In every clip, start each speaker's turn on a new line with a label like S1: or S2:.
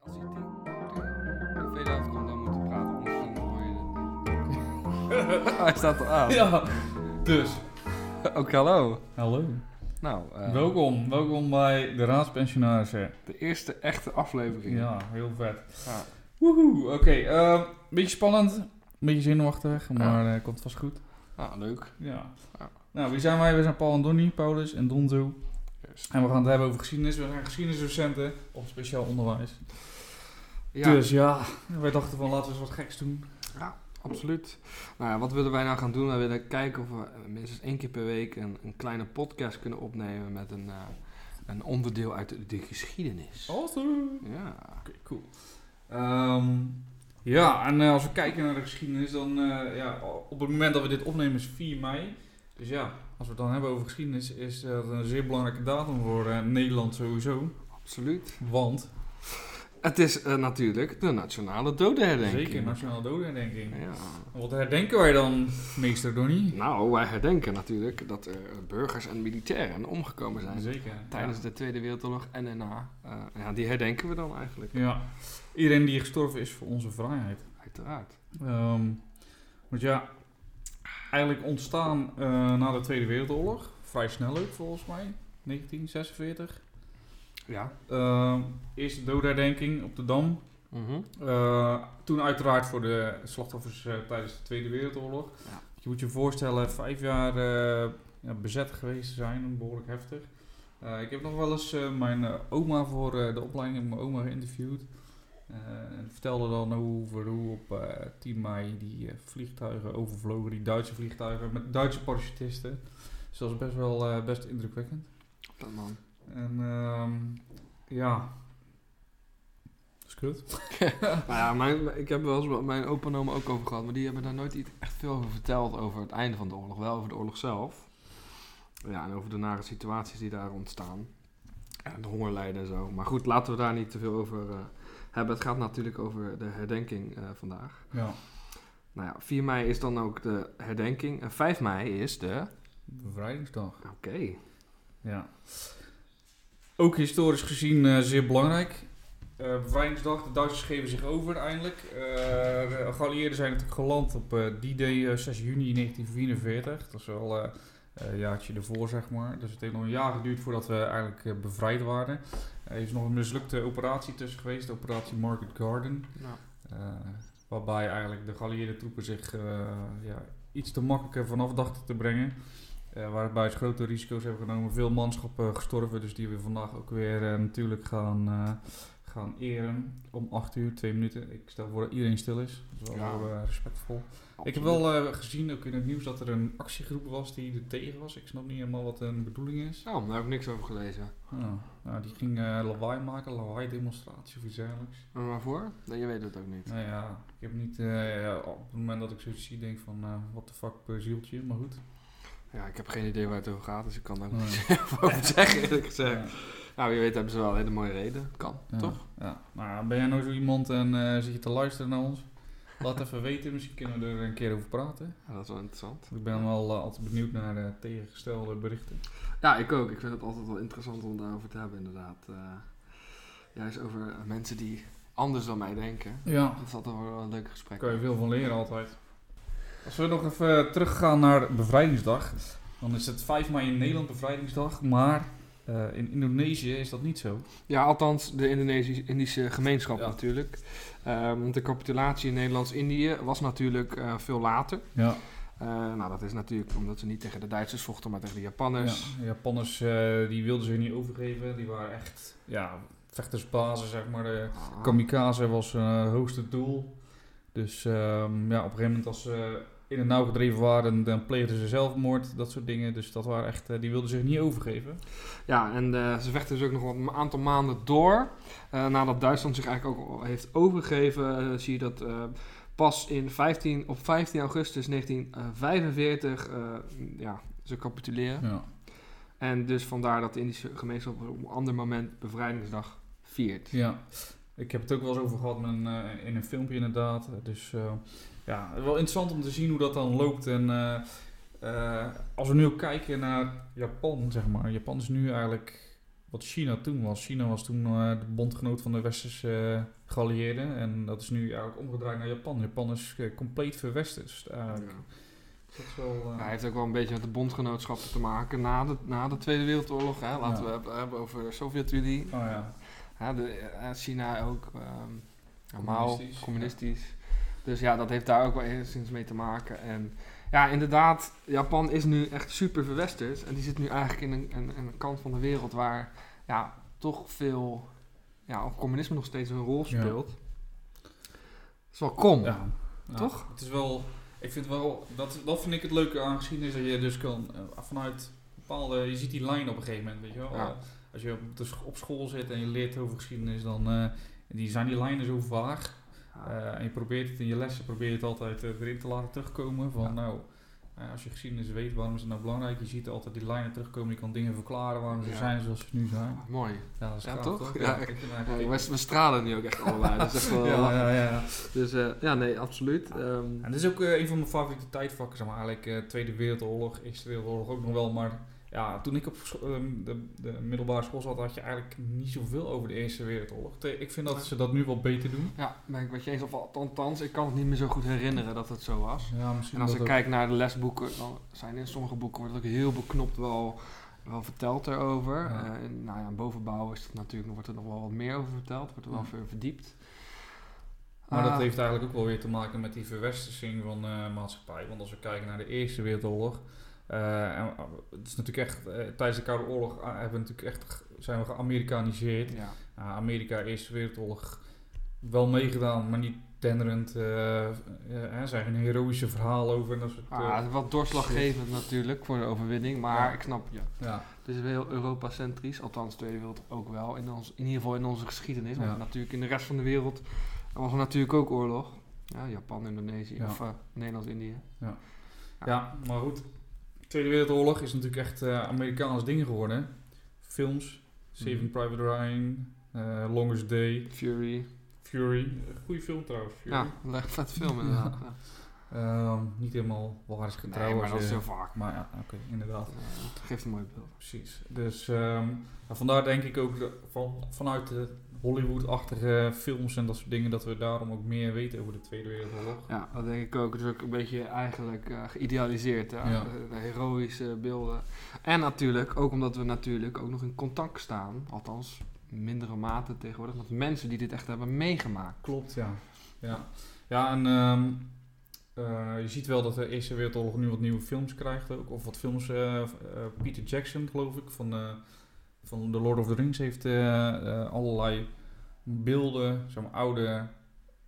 S1: Hij staat al aan.
S2: Ja, dus.
S1: Ook hallo.
S2: Hallo.
S1: Nou, eh,
S2: Welkom, welkom bij de Raadspensionarissen.
S1: de eerste echte aflevering. Ah.
S2: Ja, heel vet.
S1: Ja.
S2: Woehoe, oké. eh, beetje spannend, beetje zenuwachtig, maar eh, komt vast goed.
S1: Nou, leuk.
S2: Ja.
S1: Ja.
S2: Nou, wie zijn wij? Wij zijn Paul en Donnie, Paulus en Donzo.
S1: Yes.
S2: En we gaan het hebben over geschiedenis. We zijn geschiedenisdocenten op speciaal onderwijs.
S1: Ja,
S2: Dus ja, wij dachten van laten we eens wat geks doen.
S1: absoluut. Nou ja, wat willen wij nou gaan doen? We willen kijken of we eh, minstens één keer per week een, een kleine podcast kunnen opnemen met een, eh, een onderdeel uit de, de geschiedenis.
S2: Oh. Awesome.
S1: Ja.
S2: Oké, cool. Ehm, ja, en eh, als we kijken naar de geschiedenis, dan eh, ja, op het moment dat we dit opnemen is 4 mei. Dus ja, als we het dan hebben over geschiedenis, is dat een zeer belangrijke datum voor eh, Nederland sowieso.
S1: Absoluut.
S2: Want
S1: Het is eh, natuurlijk de nationale dodenherdenking.
S2: zeker nationale dodenherdenking.
S1: Ja.
S2: Wat herdenken wij dan, meester Donnie?
S1: Nou, wij herdenken natuurlijk dat er burgers en militairen omgekomen zijn.
S2: Zeker.
S1: Tijdens
S2: ja.
S1: de Tweede Wereldoorlog en daarna. Eh, ja, die herdenken we dan eigenlijk.
S2: Ja. Iedereen die gestorven is voor onze vrijheid.
S1: Uiteraard.
S2: Ehm, want ja, eigenlijk ontstaan eh, na de Tweede Wereldoorlog, vrij snel ook volgens mij, 1946,
S1: Ja.
S2: Ehm eerste doodherdenking op de Dam.
S1: Mhm.
S2: Eh, toen uiteraard voor de slachtoffers eh, tijdens de Tweede Wereldoorlog.
S1: Ja.
S2: Je moet je voorstellen, vijf jaar eh, ja, bezet geweest te zijn, behoorlijk heftig. Eh, ik heb nog wel eens eh, mijn eh, oma voor eh, de opleiding, mijn oma geïnterviewd. Eh, en vertelde dan over hoe op eh 10 mei die eh, vliegtuigen overvlogen, die Duitse vliegtuigen, met Duitse parachutisten. Dus dat is best wel eh, best indrukwekkend.
S1: Dat man.
S2: En ehm, ja, dat is kut.
S1: Nou ja, mijn, ik heb wel eens met mijn opa en oma ook over gehad. Maar die hebben daar nooit iets echt veel over verteld. Over het einde van de oorlog. Wel over de oorlog zelf. Ja, en over de nare situaties die daar ontstaan. En de hongerlijden en zo. Maar goed, laten we daar niet te veel over eh, hebben. Het gaat natuurlijk over de herdenking eh, vandaag.
S2: Ja,
S1: Nou ja, 4 mei is dan ook de herdenking. En 5 mei is de...
S2: bevrijdingsdag.
S1: Oké.
S2: Ja. Ook historisch gezien eh, zeer belangrijk. Eh bevrijdingsdag, de Duitsers geven zich over eindelijk. Eh, de geallieerden zijn natuurlijk geland op eh D-Day eh, 6 juni 1944. Dat is wel eh, een jaartje ervoor, zeg maar. Dus het heeft nog een jaar geduurd voordat we eigenlijk eh, bevrijd waren. Er is nog een mislukte operatie tussen geweest, operatie Market Garden.
S1: Nou,
S2: Eh, waarbij eigenlijk de geallieerde troepen zich eh, ja, iets te makkelijker vanaf dachten te brengen. Eh, waarbij ze grote risico's hebben genomen. Veel manschappen gestorven, dus die we vandaag ook weer eh, natuurlijk gaan, eh, gaan eren. Om 8 uur, 2 minuten. Ik stel voor dat iedereen stil is. Dat is wel
S1: Ja.
S2: heel, eh, respectvol. Ik heb
S1: absoluut.
S2: wel eh, gezien, ook in het nieuws, dat er een actiegroep was die er tegen was. Ik snap niet helemaal wat hun bedoeling is.
S1: Oh, daar heb ik niks over gelezen.
S2: Ah, nou, die ging eh, lawaai maken, lawaai demonstratie of iets dergelijks.
S1: En waarvoor? Nee, je weet het ook niet.
S2: Nou ja, ik heb niet eh, ja, op het moment dat ik zoiets zie, denk van eh wat de fuck per zieltje, maar goed.
S1: Ja, ik heb geen idee waar het over gaat, dus ik kan daar ook
S2: Nee.
S1: niks over zeggen, eerlijk gezegd.
S2: Ja,
S1: Nou, wie weet hebben ze wel een hele mooie reden. Kan,
S2: ja,
S1: toch?
S2: Ja. Nou, ben jij nou zo iemand en eh, zit je te luisteren naar ons? Laat even weten, misschien kunnen we er een keer over praten.
S1: Ja, dat is wel interessant.
S2: Ik ben wel eh, altijd benieuwd naar eh, tegengestelde berichten.
S1: Ja, ik ook. Ik vind het altijd wel interessant om daarover te hebben, inderdaad. Eh, juist over eh, mensen die anders dan mij denken.
S2: Ja,
S1: Dat is altijd wel een leuk gesprek.
S2: Daar kan je veel van leren altijd. Als we nog even eh, teruggaan naar Bevrijdingsdag, dan is het 5 mei in Nederland Bevrijdingsdag, maar eh, in Indonesië is dat niet zo.
S1: Ja, althans de Indonesisch-Indische gemeenschap
S2: Ja.
S1: natuurlijk. Eh, want de capitulatie in Nederlands-Indië was natuurlijk eh, veel later.
S2: Ja,
S1: Eh, nou, dat is natuurlijk omdat ze niet tegen de Duitsers vochten, maar tegen de Japanners.
S2: Ja, de Japanners eh, die wilden zich niet overgeven. Die waren echt ja, vechtersbazen, zeg maar. De
S1: Ah.
S2: kamikaze was hun hoogste doel. Dus ehm, ja, op een gegeven moment als ze in het nauw gedreven waren, dan pleegden ze zelfmoord. Dat soort dingen. Dus dat waren echt, eh, die wilden zich niet overgeven.
S1: Ja, en eh, ze vechten dus ook nog wel een aantal maanden door. Eh, nadat Duitsland zich eigenlijk ook al heeft overgegeven, eh, zie je dat eh, pas in 15, op 15 augustus 1945 eh, ja, ze capituleren.
S2: Ja.
S1: En dus vandaar dat de Indische gemeenschap op een ander moment bevrijdingsdag viert.
S2: Ja, ik heb het ook wel eens over gehad met een, eh, in een filmpje inderdaad. Dus eh, ja, wel interessant om te zien hoe dat dan loopt. En eh, eh, als we nu ook kijken naar Japan, zeg maar. Japan is nu eigenlijk wat China toen was. China was toen eh, de bondgenoot van de westerse eh, geallieerden. En dat is nu eigenlijk omgedraaid naar Japan. Japan is eh, compleet verwesterd. eigenlijk.
S1: Ja.
S2: Dat is wel... eh,
S1: Hij heeft ook wel een beetje met de bondgenootschappen te maken na de, na de Tweede Wereldoorlog. Hè? Laten
S2: Ja.
S1: we het hebben over de Sovjet-Unie.
S2: Oh ja.
S1: Ja, de, eh, China ook. ehm ja, Mao,
S2: Communistisch,
S1: communistisch.
S2: ja.
S1: Dus ja, dat heeft daar ook wel enigszins mee te maken. En ja, inderdaad, Japan is nu echt super verwesterd. En die zit nu eigenlijk in een, een, een kant van de wereld waar ja, toch veel ja, of communisme nog steeds een rol
S2: Ja.
S1: speelt. Dat is wel kom.
S2: Ja. Ja.
S1: Toch?
S2: Het is wel, ik vind wel, dat, dat vind ik het leuke aan geschiedenis, dat je dus kan eh, vanuit bepaalde, je ziet die lijn op een gegeven moment, weet je wel.
S1: Ja.
S2: Eh, Als je op, de sch- op school zit en je leert over geschiedenis, dan eh, die, zijn die lijnen zo vaag.
S1: Ah,
S2: Eh, en je probeert het in je lessen, probeer je het altijd eh, erin te laten terugkomen van
S1: Ja.
S2: nou... eh, als je geschiedenis weet, waarom is het nou belangrijk? Je ziet altijd die lijnen terugkomen, je kan dingen verklaren waarom ze
S1: Ja.
S2: zijn zoals ze nu zijn.
S1: Mooi.
S2: Ja, dat is
S1: Ja,
S2: gaaf,
S1: toch? Ja,
S2: ik vind het
S1: Ja,
S2: eigenlijk-
S1: we, we stralen nu ook echt allemaal. Dat is echt wel
S2: ja,
S1: lachen.
S2: ja, ja. ja.
S1: Dus eh, ja, nee, absoluut. Ehm,
S2: En dat is ook eh, een van mijn favoriete tijdvakken, zeg maar. Eigenlijk eh, Tweede Wereldoorlog, Eerste Wereldoorlog ook nog wel. Maar ja, toen ik op scho- ehm, de, de middelbare school zat, had je eigenlijk niet zoveel over de Eerste Wereldoorlog. Te- Ik vind dat ze dat nu wel beter doen.
S1: ja, ben ik met je eens. Of althans, ik kan het niet meer zo goed herinneren dat het zo was.
S2: Ja, misschien
S1: En als ik kijk naar de lesboeken, dan zijn in sommige boeken wordt het ook heel beknopt wel, wel verteld erover.
S2: Ja.
S1: Eh, en, nou ja, in bovenbouw is dat natuurlijk, wordt er nog wel wat meer over verteld, wordt er wel
S2: Ja.
S1: veel verdiept.
S2: Maar dat
S1: Ah,
S2: heeft eigenlijk ook wel weer te maken met die verwestersing van eh maatschappij. Want als we kijken naar de Eerste Wereldoorlog. eh, en, eh, het is natuurlijk echt, eh, tijdens de Koude Oorlog eh, hebben we natuurlijk echt, ge- zijn we geamerikaniseerd.
S1: Ja,
S2: Ja, Amerika, Eerste Wereldoorlog, wel meegedaan, maar niet tenderend. eh, eh, hè, zijn geen heroïsche verhalen over en dat soort
S1: Ah, het
S2: eh,
S1: is wat doorslaggevend natuurlijk voor de overwinning, maar
S2: Ja.
S1: ik snap je.
S2: ja.
S1: Het is heel Europa-centrisch, althans de Tweede Wereld ook wel, in, ons, in ieder geval in onze geschiedenis.
S2: Ja.
S1: Maar natuurlijk in de rest van de wereld was er natuurlijk ook oorlog. Ja, Japan, Indonesië
S2: Ja.
S1: of eh, Nederland-Indië.
S2: ja, maar goed. Tweede Wereldoorlog is natuurlijk echt eh Amerikaans ding geworden. Films, Saving
S1: Mhm.
S2: Private Ryan, eh, Longest Day,
S1: Fury.
S2: Fury. Goede film trouwens, Fury.
S1: Ja, een le- vet film inderdaad. Ja.
S2: Ehm, niet helemaal waar is
S1: Nee,
S2: getrouwd.
S1: maar dat is
S2: eh,
S1: zo vaak.
S2: maar ja, oké, inderdaad.
S1: Dat geeft een mooi beeld.
S2: Precies. Dus ehm, maar vandaar denk ik ook de- van, vanuit de Hollywood-achtige films en dat soort dingen dat we daarom ook meer weten over de Tweede Wereldoorlog.
S1: Ja, dat denk ik ook. Het is ook een beetje eigenlijk eh, geïdealiseerd. hè.
S2: Ja.
S1: De, de heroïsche beelden. En natuurlijk, ook omdat we natuurlijk ook nog in contact staan. Althans, in mindere mate tegenwoordig. Met mensen die dit echt hebben meegemaakt.
S2: Klopt, ja. Ja, ja en ehm, eh, je ziet wel dat de Eerste Wereldoorlog nu wat nieuwe films krijgt ook. Of wat films. eh, v- eh, Peter Jackson, geloof ik, van, eh, van The Lord of the Rings heeft eh, eh, allerlei beelden, zeg maar oude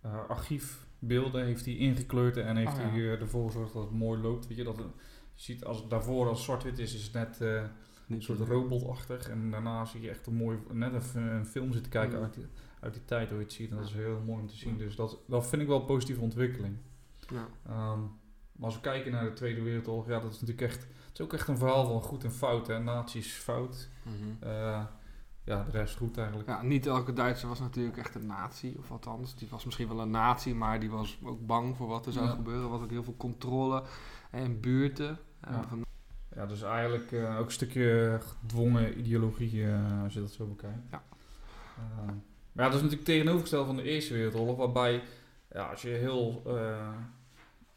S2: eh, archiefbeelden, heeft hij ingekleurd en heeft
S1: Oh,
S2: hij
S1: ja.
S2: eh, ervoor gezorgd dat het mooi loopt. Weet je, dat, het- je ziet als het daarvoor als zwart-wit is, is het net... eh,
S1: Niet
S2: een soort robotachtig. En daarna zie je echt een mooi, net even een film zitten kijken
S1: Ja.
S2: uit die, uit die tijd hoe je het ziet. En dat is heel mooi om te zien. Dus dat, dat vind ik wel een positieve ontwikkeling.
S1: Ja.
S2: Ehm, maar als we kijken naar de Tweede Wereldoorlog, ja, dat is natuurlijk echt, het is ook echt een verhaal van goed en fout. Hè. Nazi's fout.
S1: Mhm.
S2: Eh, ja, de rest goed eigenlijk.
S1: Ja, niet elke Duitser was natuurlijk echt een nazi, of althans, die was misschien wel een nazi, maar die was ook bang voor wat er zou
S2: Ja.
S1: gebeuren. Er was ook heel veel controle en buurten. En
S2: Ja.
S1: van-
S2: Ja, dus eigenlijk eh, ook een stukje gedwongen ideologie, eh, als je dat zo bekijkt.
S1: Ja.
S2: Eh, maar ja, dat is natuurlijk tegenovergesteld van de Eerste Wereldoorlog, waarbij ja, als je heel, eh,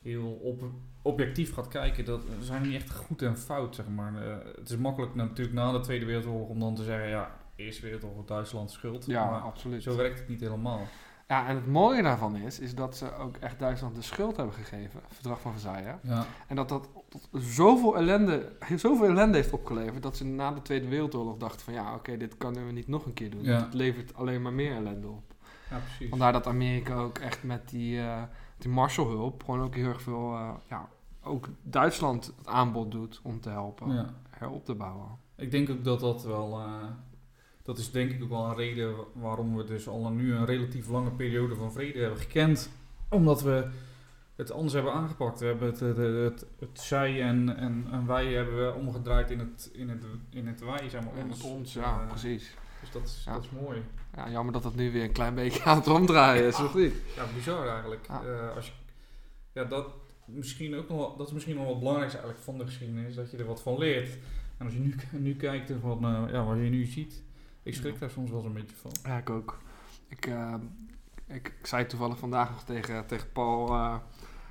S2: heel op, objectief gaat kijken, dat er zijn niet echt goed en fout, zeg maar. Eh, het is makkelijk natuurlijk na de Tweede Wereldoorlog om dan te zeggen, ja, Eerste Wereldoorlog, Duitsland schuld.
S1: ja,
S2: maar
S1: absoluut.
S2: zo werkt het niet helemaal.
S1: Ja, en het mooie daarvan is, is dat ze ook echt Duitsland de schuld hebben gegeven, het verdrag van Versailles.
S2: Ja.
S1: En dat dat tot zoveel ellende, zoveel ellende heeft opgeleverd, dat ze na de Tweede Wereldoorlog dachten van ja, oké, dit kunnen we niet nog een keer doen.
S2: Ja.
S1: want Het levert alleen maar meer ellende op.
S2: ja, precies.
S1: Vandaar dat Amerika ook echt met die, eh die Marshallhulp gewoon ook heel erg veel, eh, ja, ook Duitsland het aanbod doet om te helpen,
S2: Ja.
S1: herop te bouwen.
S2: Ik denk ook dat dat wel. eh, dat is denk ik ook wel een reden wa- waarom we dus al nu een relatief lange periode van vrede hebben gekend. Omdat we het anders hebben aangepakt. We hebben het, het, het, het zij en, en, en wij hebben we omgedraaid in het, in het, in het wij, zeg maar.
S1: En
S2: ons.
S1: ons, Dus, ja,
S2: Eh,
S1: precies.
S2: Dus dat is,
S1: Ja.
S2: dat is mooi.
S1: Ja, jammer dat dat nu weer een klein beetje aan het omdraaien is, of niet?
S2: Ja, bizar eigenlijk.
S1: Ja.
S2: Eh, als je, ja, dat, misschien ook nog, wel- dat is misschien nog wel het belangrijkste eigenlijk van de geschiedenis, dat je er wat van leert. En als je nu, nu kijkt en van, eh, ja, wat je nu ziet, Ik schrik daar soms wel eens een beetje van.
S1: Ja, ik ook. Ik, eh, ik, ik zei toevallig vandaag nog tegen, tegen Paul. eh,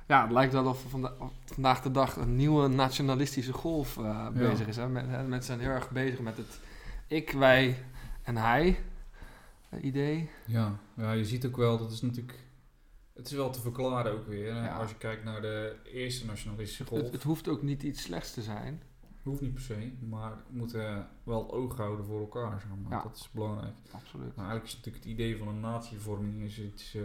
S1: ja, het lijkt wel of er vanda- of vandaag de dag een nieuwe nationalistische golf eh, bezig is. Hè? Men- hè, mensen zijn heel erg bezig met het ik, wij en hij eh, idee.
S2: Ja, ja, je ziet ook wel, dat is natuurlijk... Het is wel te verklaren ook weer. hè.
S1: Ja.
S2: Als je kijkt naar de eerste nationalistische golf.
S1: Het, het hoeft ook niet iets slechts te zijn.
S2: Hoeft niet per se, maar we moeten wel oog houden voor elkaar. Zeg maar.
S1: Ja.
S2: Dat is belangrijk.
S1: Absoluut.
S2: Maar eigenlijk is natuurlijk het idee van een natievorming is iets. eh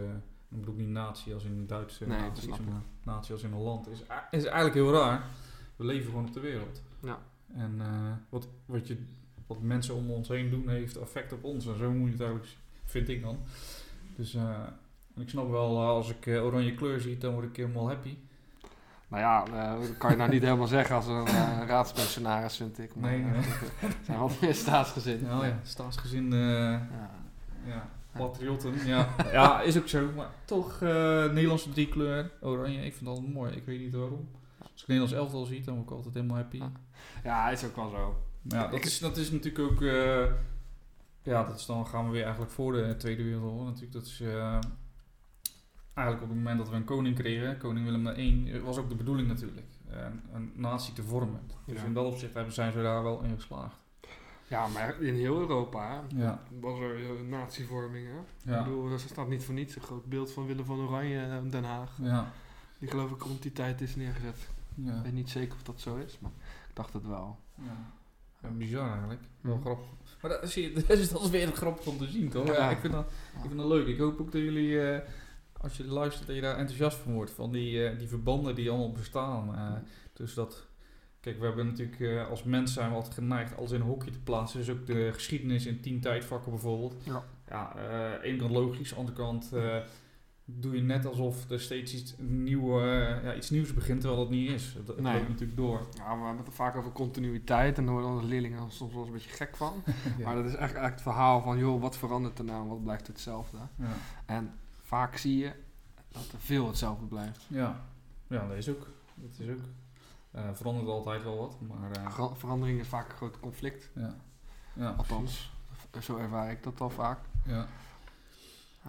S2: ik bedoel niet natie als in een Duitse
S1: Nee, dat
S2: natie,
S1: snap ik.
S2: maar natie als in een land. Is, is eigenlijk heel raar. We leven gewoon op de wereld.
S1: Ja.
S2: En eh, wat, wat, je, wat mensen om ons heen doen heeft effect op ons. En zo moet je het eigenlijk, zien, vind ik dan. Dus eh, ik snap wel, eh, als ik eh, oranje kleur zie, dan word ik helemaal happy.
S1: Nou ja, eh, dat kan je nou niet helemaal zeggen als een eh, raadspensionaris, vind ik. Maar,
S2: Nee,
S1: eh,
S2: nee.
S1: er zijn wel meer staatsgezind.
S2: Nou ja, staatsgezin. eh,
S1: Ja.
S2: Ja, patriotten. Ja. ja, is ook zo. Maar toch, eh Nederlandse driekleur, oranje, ik vind dat altijd mooi. Ik weet niet waarom. Als ik Nederlands elftal zie, dan word ik altijd helemaal happy.
S1: ja, is ook wel zo.
S2: Maar ja, dat is, dat is natuurlijk ook... eh, ja, dat is dan gaan we weer eigenlijk voor de Tweede Wereldoorlog. Natuurlijk, dat is... eh, eigenlijk op het moment dat we een koning kregen, koning Willem I, was ook de bedoeling natuurlijk. Een, een natie te vormen. Dus
S1: Ja.
S2: in dat opzicht hebben- zijn ze daar wel in geslaagd.
S1: Ja, maar in heel Europa hè,
S2: Ja.
S1: was er eh, natievorming. Hè? Ik
S2: Ja.
S1: bedoel, er staat niet voor niets een groot beeld van Willem van Oranje eh, in Den Haag.
S2: Ja.
S1: Die geloof ik rond die tijd is neergezet.
S2: ja.
S1: Ik weet niet zeker of dat zo is, maar ik dacht het wel.
S2: Ja. Ja, bizar eigenlijk. Wel
S1: Ja.
S2: grappig. Maar dat, zie je, dat is dat is weer een grappig om te zien, toch? Ja.
S1: Ja.
S2: ik, vind dat, ik vind dat leuk. Ik hoop ook dat jullie, eh, als je luistert, dat je daar enthousiast van wordt. Van die, eh, die verbanden die allemaal bestaan.
S1: Hm.
S2: eh dus dat... Kijk, we hebben natuurlijk eh, als mens zijn we altijd geneigd alles in een hokje te plaatsen. Dus ook de geschiedenis in tien tijdvakken bijvoorbeeld.
S1: Ja.
S2: Ja, eh, ene kant logisch, aan de andere kant eh, doe je net alsof er steeds iets, nieuw, eh, ja, iets nieuws begint, terwijl dat niet is. Dat, dat
S1: Nee.
S2: loopt natuurlijk door.
S1: Ja, we hebben het vaak over continuïteit en daar worden onze leerlingen soms wel eens een beetje gek van.
S2: Ja.
S1: Maar dat is echt, echt het verhaal van, joh, wat verandert er nou en wat blijft hetzelfde?
S2: Ja.
S1: En vaak zie je dat er veel hetzelfde blijft.
S2: Ja, ja dat is ook. Dat is ook. Eh, verandert altijd wel wat, maar eh,
S1: Ver- Verandering is vaak een groot conflict,
S2: ja. Ja,
S1: althans. Zo ervaar ik dat al vaak.
S2: ja.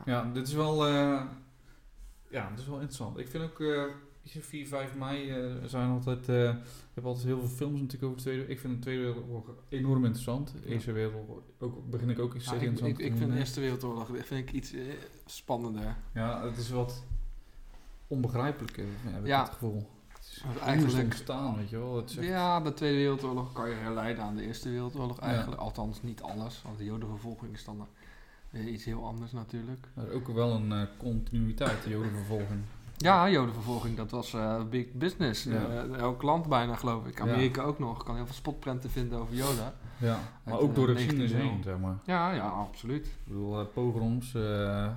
S2: ja, dit is wel, eh, ja, dit is wel interessant. Ik vind ook, eh, weet je, 4, 5 mei eh, zijn altijd, eh, ik heb altijd heel veel films natuurlijk over de Tweede Ik vind de Tweede Wereldoorlog enorm interessant. De Eerste Wereldoorlog ook, begin ik ook
S1: Ja,
S2: steeds
S1: ik,
S2: interessant
S1: ik,
S2: te eh,
S1: ik
S2: vinden.
S1: vind de Eerste Wereldoorlog vind ik iets eh, spannender.
S2: Ja, het is wat onbegrijpelijk, eh, heb ik
S1: Ja,
S2: het gevoel. Het is
S1: want
S2: eigenlijk
S1: eigenlijk-
S2: ontstaan, weet je wel. Het is echt-
S1: Ja, de Tweede Wereldoorlog kan je herleiden aan de Eerste Wereldoorlog eigenlijk. Althans, niet alles, want de jodenvervolging is dan weer iets heel anders natuurlijk.
S2: Maar ook wel een eh, continuïteit, de jodenvervolging.
S1: Ja, jodenvervolging, dat was eh, big business.
S2: Ja.
S1: Eh, elk land bijna, geloof ik.
S2: Ja.
S1: Amerika ook nog. Ik kan heel veel spotprenten vinden over joden.
S2: Ja, maar
S1: Uit,
S2: ook
S1: eh,
S2: door de geschiedenis
S1: 19e
S2: heen, zeg maar.
S1: Ja, ja, absoluut.
S2: Ik bedoel, eh, pogroms eh,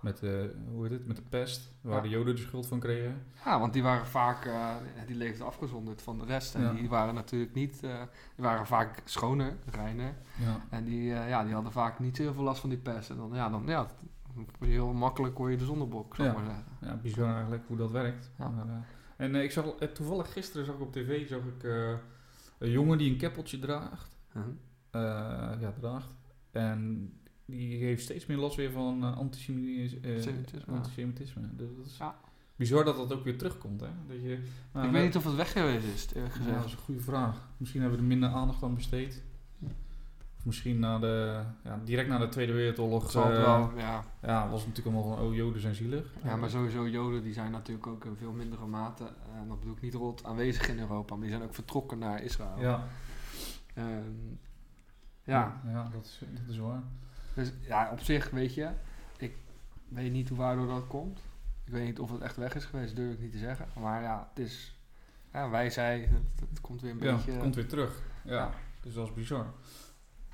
S2: met, de, hoe heet het, met de pest, waar
S1: Ja.
S2: de joden de schuld van kregen.
S1: Ja, want die waren vaak, eh, die leefden afgezonderd van de rest. En
S2: Ja.
S1: die waren natuurlijk niet, eh, die waren vaak schoner, reiner.
S2: Ja,
S1: En die, eh, ja, die hadden vaak niet zo heel veel last van die pest. En dan, ja, dan, ja, heel makkelijk hoor je de zonnebok, zou ik
S2: Ja.
S1: maar zeggen.
S2: ja bizar eigenlijk hoe dat werkt.
S1: Ja.
S2: Maar, eh, en eh, ik zag, eh, toevallig gisteren zag ik op tv zag ik, eh, een jongen die een keppeltje draagt.
S1: Hm.
S2: Eh, ja, draagt. En die heeft steeds meer last weer van eh, antisemitis- eh,
S1: Antisemitisme.
S2: antisemitisme. Dus dat is
S1: Ja.
S2: bizar dat dat ook weer terugkomt. Hè? Dat je, maar
S1: ik
S2: net-
S1: weet niet of het weg geweest is, eerlijk
S2: Ja, dat
S1: gezegd.
S2: is een goede vraag. Misschien hebben we er minder aandacht aan besteed. Of misschien na de, ja, direct na de Tweede Wereldoorlog.
S1: Het zal het
S2: eh,
S1: wel, ja.
S2: Ja, was het natuurlijk allemaal van, oh, joden zijn zielig.
S1: ja, maar sowieso Joden die zijn natuurlijk ook in veel mindere mate, eh, en dat bedoel ik niet rot, aanwezig in Europa. Maar die zijn ook vertrokken naar Israël.
S2: Ja,
S1: Ehm, ja.
S2: ja dat, is, dat is waar.
S1: dus ja, op zich weet je, ik weet niet hoe waardoor dat komt. Ik weet niet of het echt weg is geweest, durf ik niet te zeggen. Maar ja, het is, ja, wij zij, het, het komt weer een
S2: Ja,
S1: beetje... eh,
S2: het komt weer terug. Ja,
S1: Ja.
S2: dus dat is bizar.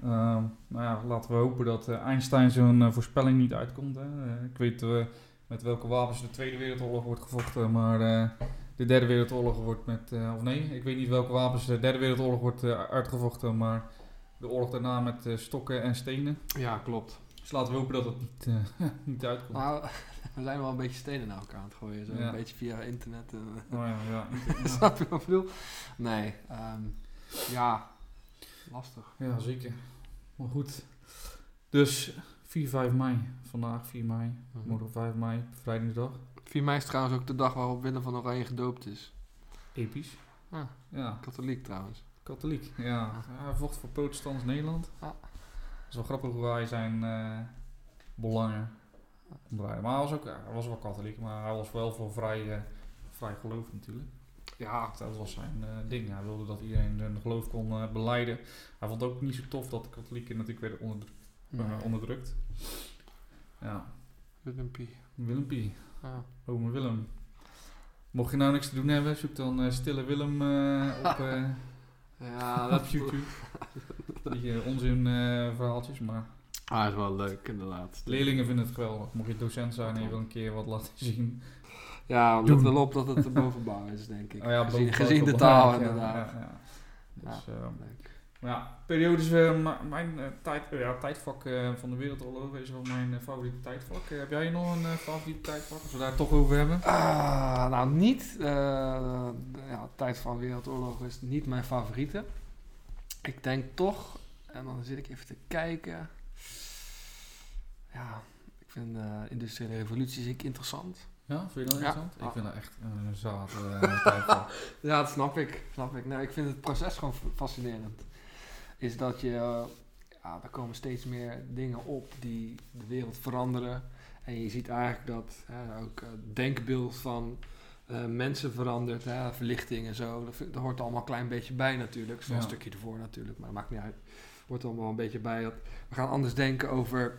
S2: Ehm, nou ja, laten we hopen dat eh, Einstein zo'n eh, voorspelling niet uitkomt. Hè. Eh, ik weet eh, met welke wapens de Tweede Wereldoorlog wordt gevochten, maar eh, de Derde Wereldoorlog wordt met... eh, of nee, ik weet niet welke wapens de Derde Wereldoorlog wordt eh, uitgevochten, maar de oorlog daarna met eh, stokken en stenen.
S1: Ja, klopt.
S2: Dus laten we hopen dat dat niet, eh, niet uitkomt.
S1: Nou, we zijn wel een beetje stenen naar elkaar aan het gooien. Zo
S2: Ja.
S1: een beetje via internet. en-
S2: Oh ja, ja.
S1: Snap je wat ik bedoel? Nee, ehm, ja, lastig.
S2: Ja, zeker. Maar goed. Dus 4, 5 mei. Vandaag 4 mei. Morgen 5 mei. Vrijdagdag.
S1: 4 mei is trouwens ook de dag waarop Willem van Oranje gedoopt is.
S2: Episch.
S1: Ah.
S2: Ja,
S1: Katholiek trouwens.
S2: katholiek. Ja. Hij vocht voor protestants Nederland.
S1: Ah.
S2: Dat is wel grappig hoe hij zijn eh, belangen omdraaide. Maar hij was, ook, hij was wel katholiek, maar hij was wel voor vrij, eh, vrij geloof natuurlijk.
S1: Ja.
S2: Dat was zijn eh, ding. Hij wilde dat iedereen zijn geloof kon eh, beleiden. Hij vond het ook niet zo tof dat de katholieken natuurlijk werden onderdru- eh, onderdrukt. Ja,
S1: Willempie.
S2: Willempie.
S1: Ja.
S2: Ome Willem. Mocht je nou niks te doen hebben, zoek dan eh, Stille Willem eh, op, eh,
S1: Ja,
S2: op YouTube. Die eh, onzin eh, verhaaltjes, maar
S1: Ah, is wel leuk inderdaad.
S2: leerlingen vinden het geweldig. Mocht je docent zijn en je wil een keer wat laten zien.
S1: Ja, het let
S2: Doen.
S1: wel op dat het de bovenbouw is, denk ik.
S2: Oh ja,
S1: gezien
S2: boven-
S1: gezien de
S2: boven-
S1: taal,
S2: ja,
S1: inderdaad.
S2: ja, ja. Dus, ehm,
S1: Leuk.
S2: maar ja, periodes, eh, ma- mijn eh, tijd, eh, ja, tijdvak eh, van de wereldoorlogen is wel mijn eh, favoriete tijdvak. Eh, heb jij nog een eh, favoriete tijdvak, als we daar toch over hebben?
S1: Ah, nou, niet. eh, de- ja, tijd van Wereldoorlog is niet mijn favoriete. Ik denk toch, en dan zit ik even te kijken. Ja, ik vind de industriële revolutie zie ik interessant.
S2: Ja, vind je dat
S1: Ja.
S2: interessant? Ik
S1: Ah.
S2: vind dat echt een zaad eh, tijdvak.
S1: Ja, dat snap ik. Snap ik. Nou, ik vind het proces gewoon f- fascinerend. Is dat je, eh, ja, er komen steeds meer dingen op die de wereld veranderen. En je ziet eigenlijk dat hè, ook eh, het denkbeeld van eh, mensen verandert, hè, verlichting en zo. Dat, vind- dat hoort er allemaal een klein beetje bij natuurlijk. Zo'n
S2: Ja.
S1: stukje ervoor natuurlijk, maar dat maakt niet uit. Hoort er allemaal een beetje bij. Dat we gaan anders denken over,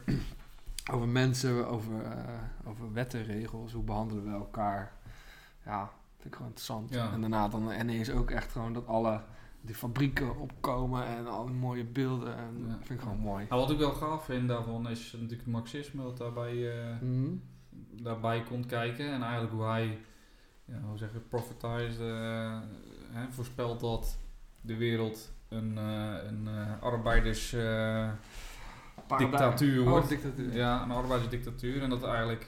S1: over mensen, over, eh, over wetten, regels. Hoe behandelen we elkaar? Ja, vind ik gewoon interessant.
S2: Ja.
S1: En daarna dan ineens ook echt gewoon dat alle die fabrieken opkomen en al die mooie beelden. En
S2: Ja.
S1: dat vind ik gewoon mooi.
S2: Nou, wat ik wel gaaf vind daarvan is natuurlijk het marxisme wat daarbij, eh,
S1: Mhm.
S2: daarbij komt kijken. En eigenlijk hoe hij, ja, hoe zeg je, profitized, eh, hè, voorspelt dat de wereld een, eh een eh, arbeiders... eh, Dictatuur
S1: Oh,
S2: wordt.
S1: dictatuur.
S2: Ja, een arbeidersdictatuur. En dat eigenlijk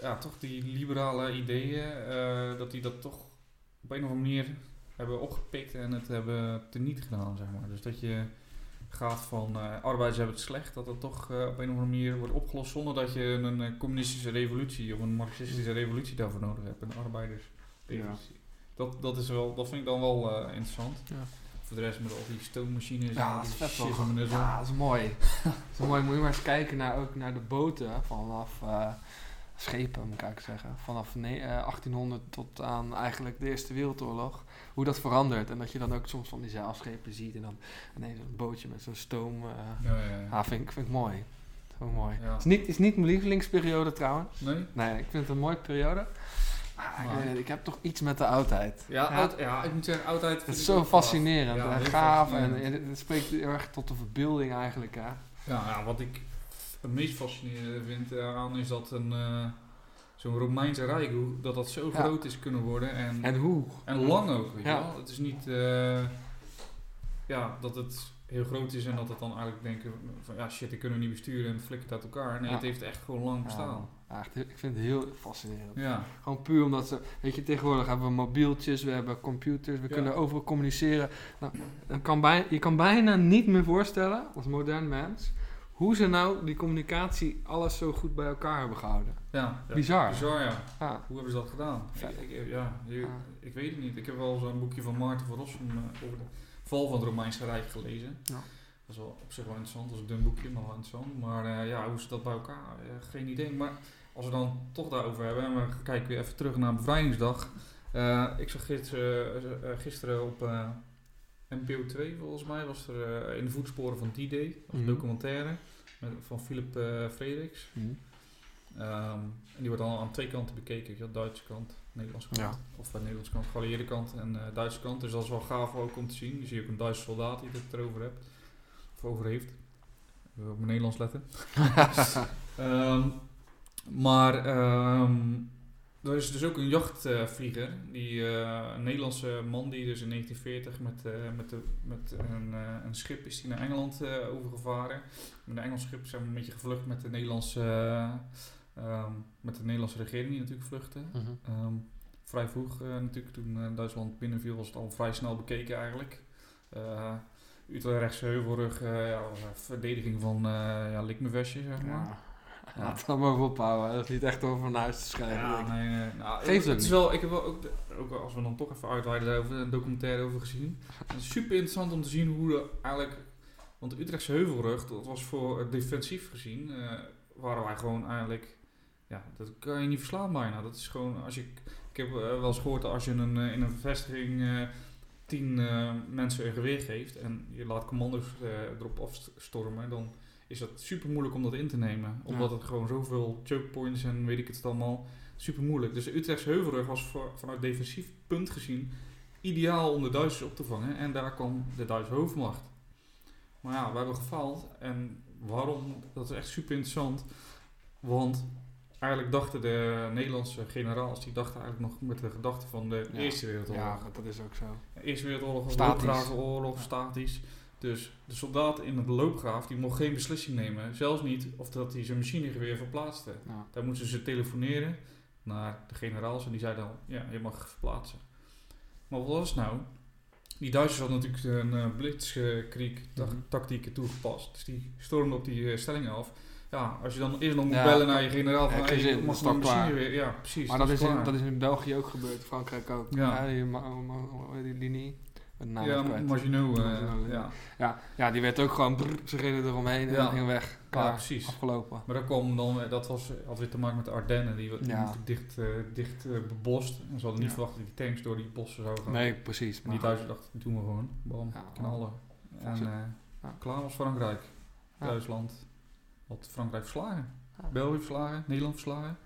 S2: ja, toch die liberale ideeën, eh, dat die dat toch op een of andere manier hebben opgepikt en het hebben teniet gedaan, zeg maar. Dus dat je gaat van eh arbeiders hebben het slecht, dat dat toch eh, op een of andere manier wordt opgelost zonder dat je een eh, communistische revolutie of een marxistische revolutie daarvoor nodig hebt. Een arbeidersrevolutie. Dat, dat, is wel, dat vind ik dan wel eh, interessant.
S1: Ja.
S2: Voor de rest met al die stoommachines en
S1: Ja,
S2: al
S1: dat is
S2: die
S1: vet wel.
S2: schismen en zo.
S1: Ja, dat is mooi. dat is mooi. Moet je maar eens kijken naar, ook naar de boten vanaf eh, schepen, moet ik eigenlijk zeggen. Vanaf ne- eh, 1800 tot aan eigenlijk de Eerste Wereldoorlog. Hoe dat verandert. En dat je dan ook soms van die zeilschepen ziet. En dan ineens een bootje met zo'n stoom. eh
S2: Ja, ja, ja.
S1: ja, vind, ik- vind ik mooi. Zo mooi.
S2: Ja.
S1: Het is niet, is niet mijn lievelingsperiode trouwens.
S2: Nee?
S1: Nee, ik vind het een mooie periode. Maar ik,
S2: Maar-
S1: weet het, ik heb toch iets met de oudheid.
S2: Ja,
S1: Ja.
S2: Oud, ja, ik moet zeggen, oudheid.
S1: Het
S2: vind
S1: is
S2: ik
S1: zo
S2: ook gaaf.
S1: fascinerend
S2: Ja,
S1: en
S2: heel
S1: gaaf. En,
S2: fascinerend.
S1: en het spreekt heel erg tot de verbeelding eigenlijk. Hè?
S2: Ja, ja, wat ik het meest fascinerende vind daaraan is dat een, eh, zo'n Romeinse rijk, hoe, dat dat zo
S1: Ja.
S2: groot is kunnen worden en, en,
S1: En hoe?
S2: lang ook. Weet je
S1: Ja.
S2: wel? Het is niet eh, ja, dat het heel groot is en dat het dan eigenlijk denken van ja shit, die kunnen we niet besturen en flikker het uit elkaar. Nee,
S1: Ja.
S2: het heeft echt gewoon lang
S1: Ja,
S2: bestaan.
S1: ja, echt, ik vind het heel fascinerend.
S2: Ja,
S1: Gewoon puur omdat ze, weet je, tegenwoordig hebben we mobieltjes, we hebben computers, we
S2: Ja.
S1: kunnen overal communiceren. Nou, dan kan bij, je kan bijna niet meer voorstellen, als modern mens, hoe ze nou die communicatie alles zo goed bij elkaar hebben gehouden.
S2: ja. ja.
S1: Bizar.
S2: Bizar, ja.
S1: Ja.
S2: Hoe hebben ze dat gedaan?
S1: Ja.
S2: Ik, ik, ja, je-
S1: Ja.
S2: ik weet het niet. Ik heb wel zo'n boekje van Maarten van Rossum eh, over de val van het Romeinse Rijk gelezen.
S1: Ja.
S2: Dat is wel op zich wel interessant. Dat is een dun boekje, maar wel interessant. Maar eh, ja, hoe ze dat bij elkaar? eh, geen idee. Maar als we dan toch daarover hebben en we kijken weer even terug naar Bevrijdingsdag. Eh, ik zag gisteren, eh, gisteren op eh, NPO 2 volgens mij was er eh, in de voetsporen van D-Day, dat was een
S1: Mhm.
S2: documentaire met, van Philip eh Frederiks. Ehm, en die wordt dan aan twee kanten bekeken. weet je wel, Duitse kant, Nederlandse kant.
S1: Ja.
S2: Of eh, Nederlandse kant, geallieerde kant en eh, Duitse kant. Dus dat is wel gaaf ook om te zien. Je ziet ook een Duitse soldaat die het erover hebt. Of over heeft. Even op mijn Nederlands letten. Ehm, maar ehm, er is dus ook een jachtvlieger. die, eh, een Nederlandse man die dus in 1940 met, eh, met, de, met een, eh, een schip is die naar Engeland eh, overgevaren. Met een Engels schip zijn we een beetje gevlucht met de Nederlandse, eh, ehm, met de Nederlandse regering die natuurlijk vluchtte.
S1: Mhm.
S2: Ehm, vrij vroeg eh, natuurlijk, toen eh, Duitsland binnenviel was het al vrij snel bekeken eigenlijk. Eh, Utrechtse heuvelrug, eh, ja, verdediging van eh ja, Likmevesje, zeg maar.
S1: Ja. Laat dat maar voor ophouden. Dat is niet echt over naar huis te schrijven.
S2: Ja,
S1: denk ik.
S2: nee, nee. Nou,
S1: Geeft ook
S2: het is
S1: niet.
S2: wel, ik heb wel ook, de- ook als we dan toch even uitweiden, daar hebben we een documentaire over gezien. Het is super interessant om te zien hoe de, eigenlijk, want de Utrechtse heuvelrug, dat was voor eh, defensief gezien, eh, waren wij gewoon eigenlijk, ja, dat kan je niet verslaan bijna. Dat is gewoon, als je, ik heb eh, wel eens gehoord dat als je een, eh, in een vestiging eh, tien eh, mensen een geweer geeft en je laat commando's eh, erop afstormen, dan is dat super moeilijk om dat in te nemen. Omdat het gewoon zoveel choke points en weet ik het allemaal super moeilijk. Dus de Utrechtse Heuvelrug was voor- vanuit defensief punt gezien ideaal om de Duitsers op te vangen. En daar kwam de Duitse hoofdmacht. Maar ja, we hebben gefaald. En waarom? Dat is echt super interessant. Want eigenlijk dachten de Nederlandse generaals, die dachten eigenlijk nog met de gedachte van de
S1: Ja.
S2: Eerste Wereldoorlog.
S1: Ja, dat is ook zo.
S2: Eerste Wereldoorlog was
S1: Statisch.
S2: loopgravenoorlog, statisch. Dus de soldaat in de loopgraaf die mocht geen beslissing nemen. Zelfs niet of dat hij zijn machinegeweer verplaatste.
S1: Ja.
S2: Daar moesten ze telefoneren naar de generaals en die zeiden dan, ja, je mag verplaatsen. Maar wat was het nou? Die Duitsers hadden natuurlijk een eh, blitzkrieg ta-
S1: Mhm.
S2: tactieken toegepast. Dus die stormden op die eh, stellingen af. Ja, als je dan eerst nog moet
S1: Ja.
S2: bellen naar je generaal van,
S1: Ja,
S2: hey,
S1: geen zin,
S2: ik mag
S1: dat is
S2: mijn
S1: toch
S2: machine
S1: klaar.
S2: weer. Ja, precies.
S1: Maar dat is, in,
S2: klaar.
S1: dat is in België ook gebeurd, Frankrijk ook.
S2: Ja.
S1: Ja. die, ma- ma- hoe heet die linie. Met naam
S2: ja,
S1: ja, kwijt.
S2: Maginot. eh,
S1: Maginot, ja.
S2: ja.
S1: Ja, ja, die werd ook gewoon, brrr, ze reden eromheen en
S2: Ja.
S1: ging weg.
S2: ja,
S1: Klaar,
S2: precies.
S1: afgelopen.
S2: Maar dat, kwam dan, eh, dat was, had weer te maken met de Ardennen, die wat
S1: Ja.
S2: dicht, eh, dicht eh, bebost. En ze hadden niet
S1: Ja.
S2: verwacht dat die tanks door die bossen zouden gaan.
S1: Nee, precies.
S2: En
S1: Maar
S2: die Duitsers dachten, doen we gewoon. Bam,
S1: Ja,
S2: knallen. En
S1: Voorzet.
S2: eh,
S1: Ja.
S2: klaar was Frankrijk.
S1: Ja.
S2: Duitsland had Frankrijk verslagen.
S1: Ja.
S2: België verslagen, Nederland verslagen.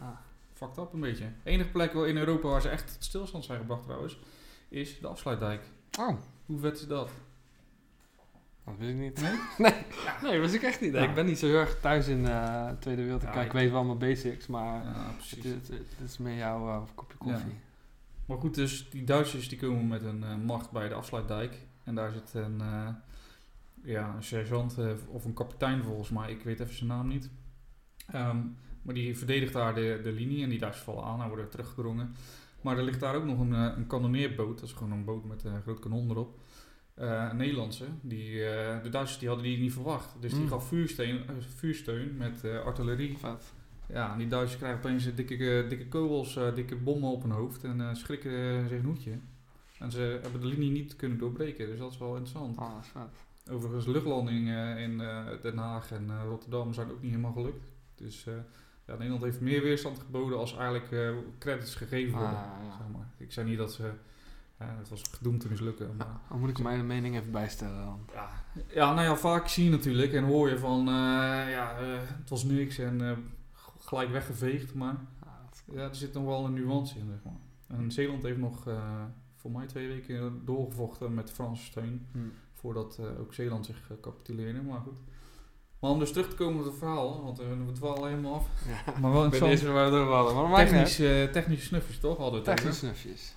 S1: Ja.
S2: Fucked up een beetje. Enige plek wel in Europa waar ze echt tot stilstand zijn gebracht trouwens, is de Afsluitdijk.
S1: Oh,
S2: Hoe vet is dat?
S1: dat wist ik niet.
S2: Nee?
S1: Nee, dat wist ik echt niet.
S2: Ja.
S1: Ik ben niet zo heel erg thuis in eh Tweede Wereldoorlog.
S2: Ja,
S1: ik,
S2: ik-
S1: weet wel mijn basics, maar
S2: Ja,
S1: het,
S2: precies.
S1: is, het is meer jouw eh, kopje koffie.
S2: Maar goed, dus die Duitsers die komen met een eh, macht bij de afsluitdijk. En daar zit een, eh, ja, een sergeant eh, of een kapitein volgens mij, ik weet even zijn naam niet. Ehm, maar die verdedigt daar de, de linie en die Duitsers vallen aan en worden teruggedrongen. Maar er ligt daar ook nog een, eh, een kanonneerboot, dat is gewoon een boot met een groot kanon erop. Eh, een Nederlandse, die, eh, de Duitsers die hadden die niet verwacht. Dus die
S1: Mm.
S2: gaf vuursteen, eh, vuursteun met eh, artillerie.
S1: Vet.
S2: Ja, en die Duitsers krijgen opeens eh, dikke, eh, dikke kogels, eh, dikke bommen op hun hoofd en eh, schrikken eh, zich een hoedje. En ze hebben de linie niet kunnen doorbreken, dus dat is wel interessant.
S1: Oh, dat is vet.
S2: Overigens, luchtlandingen eh, in eh, Den Haag en eh, Rotterdam zijn ook niet helemaal gelukt. Dus eh, ja, Nederland heeft meer weerstand geboden als eigenlijk eh, credits gegeven worden.
S1: Ah, ja.
S2: zeg maar. Ik zei niet dat ze... ja, het was gedoemd te mislukken, maar...
S1: Dan moet ik mijn mening even bijstellen dan.
S2: Ja. ja, nou ja, vaak zie je natuurlijk en hoor je van... eh, ja, eh, het was niks en eh, gelijk weggeveegd, maar...
S1: Ah, dat is-
S2: Ja, er zit nog wel een nuance in, zeg maar. En Zeeland heeft nog eh, voor mij twee weken doorgevochten met Franse steun.
S1: Hm.
S2: Voordat eh, ook Zeeland zich eh, capituleerde, maar goed. Maar om dus terug te komen op het verhaal, want eh, we dwalen helemaal af.
S1: Ja.
S2: Maar wel
S1: Ik ben
S2: interessant.
S1: deze waar door hadden, maar dat maakt niet uit.
S2: Technisch, eh, technische snuffers, toch? Hadden we het
S1: Technisch
S2: over.
S1: snufjes.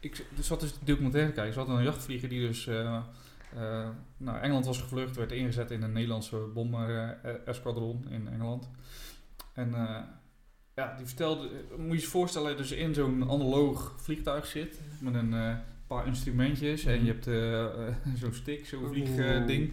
S2: Ik z- dus zat dus de documentaire te kijken. Ze hadden een jachtvlieger die dus eh, eh, naar Engeland was gevlucht. Werd ingezet in een Nederlandse bomber-esquadron in Engeland. En eh, ja, die vertelde... eh, moet je je voorstellen, dus in zo'n analoog vliegtuig zit. Met een eh, paar instrumentjes. En je hebt eh, eh, zo'n stick, zo'n vliegding.
S1: Mhm. Oeh.
S2: ding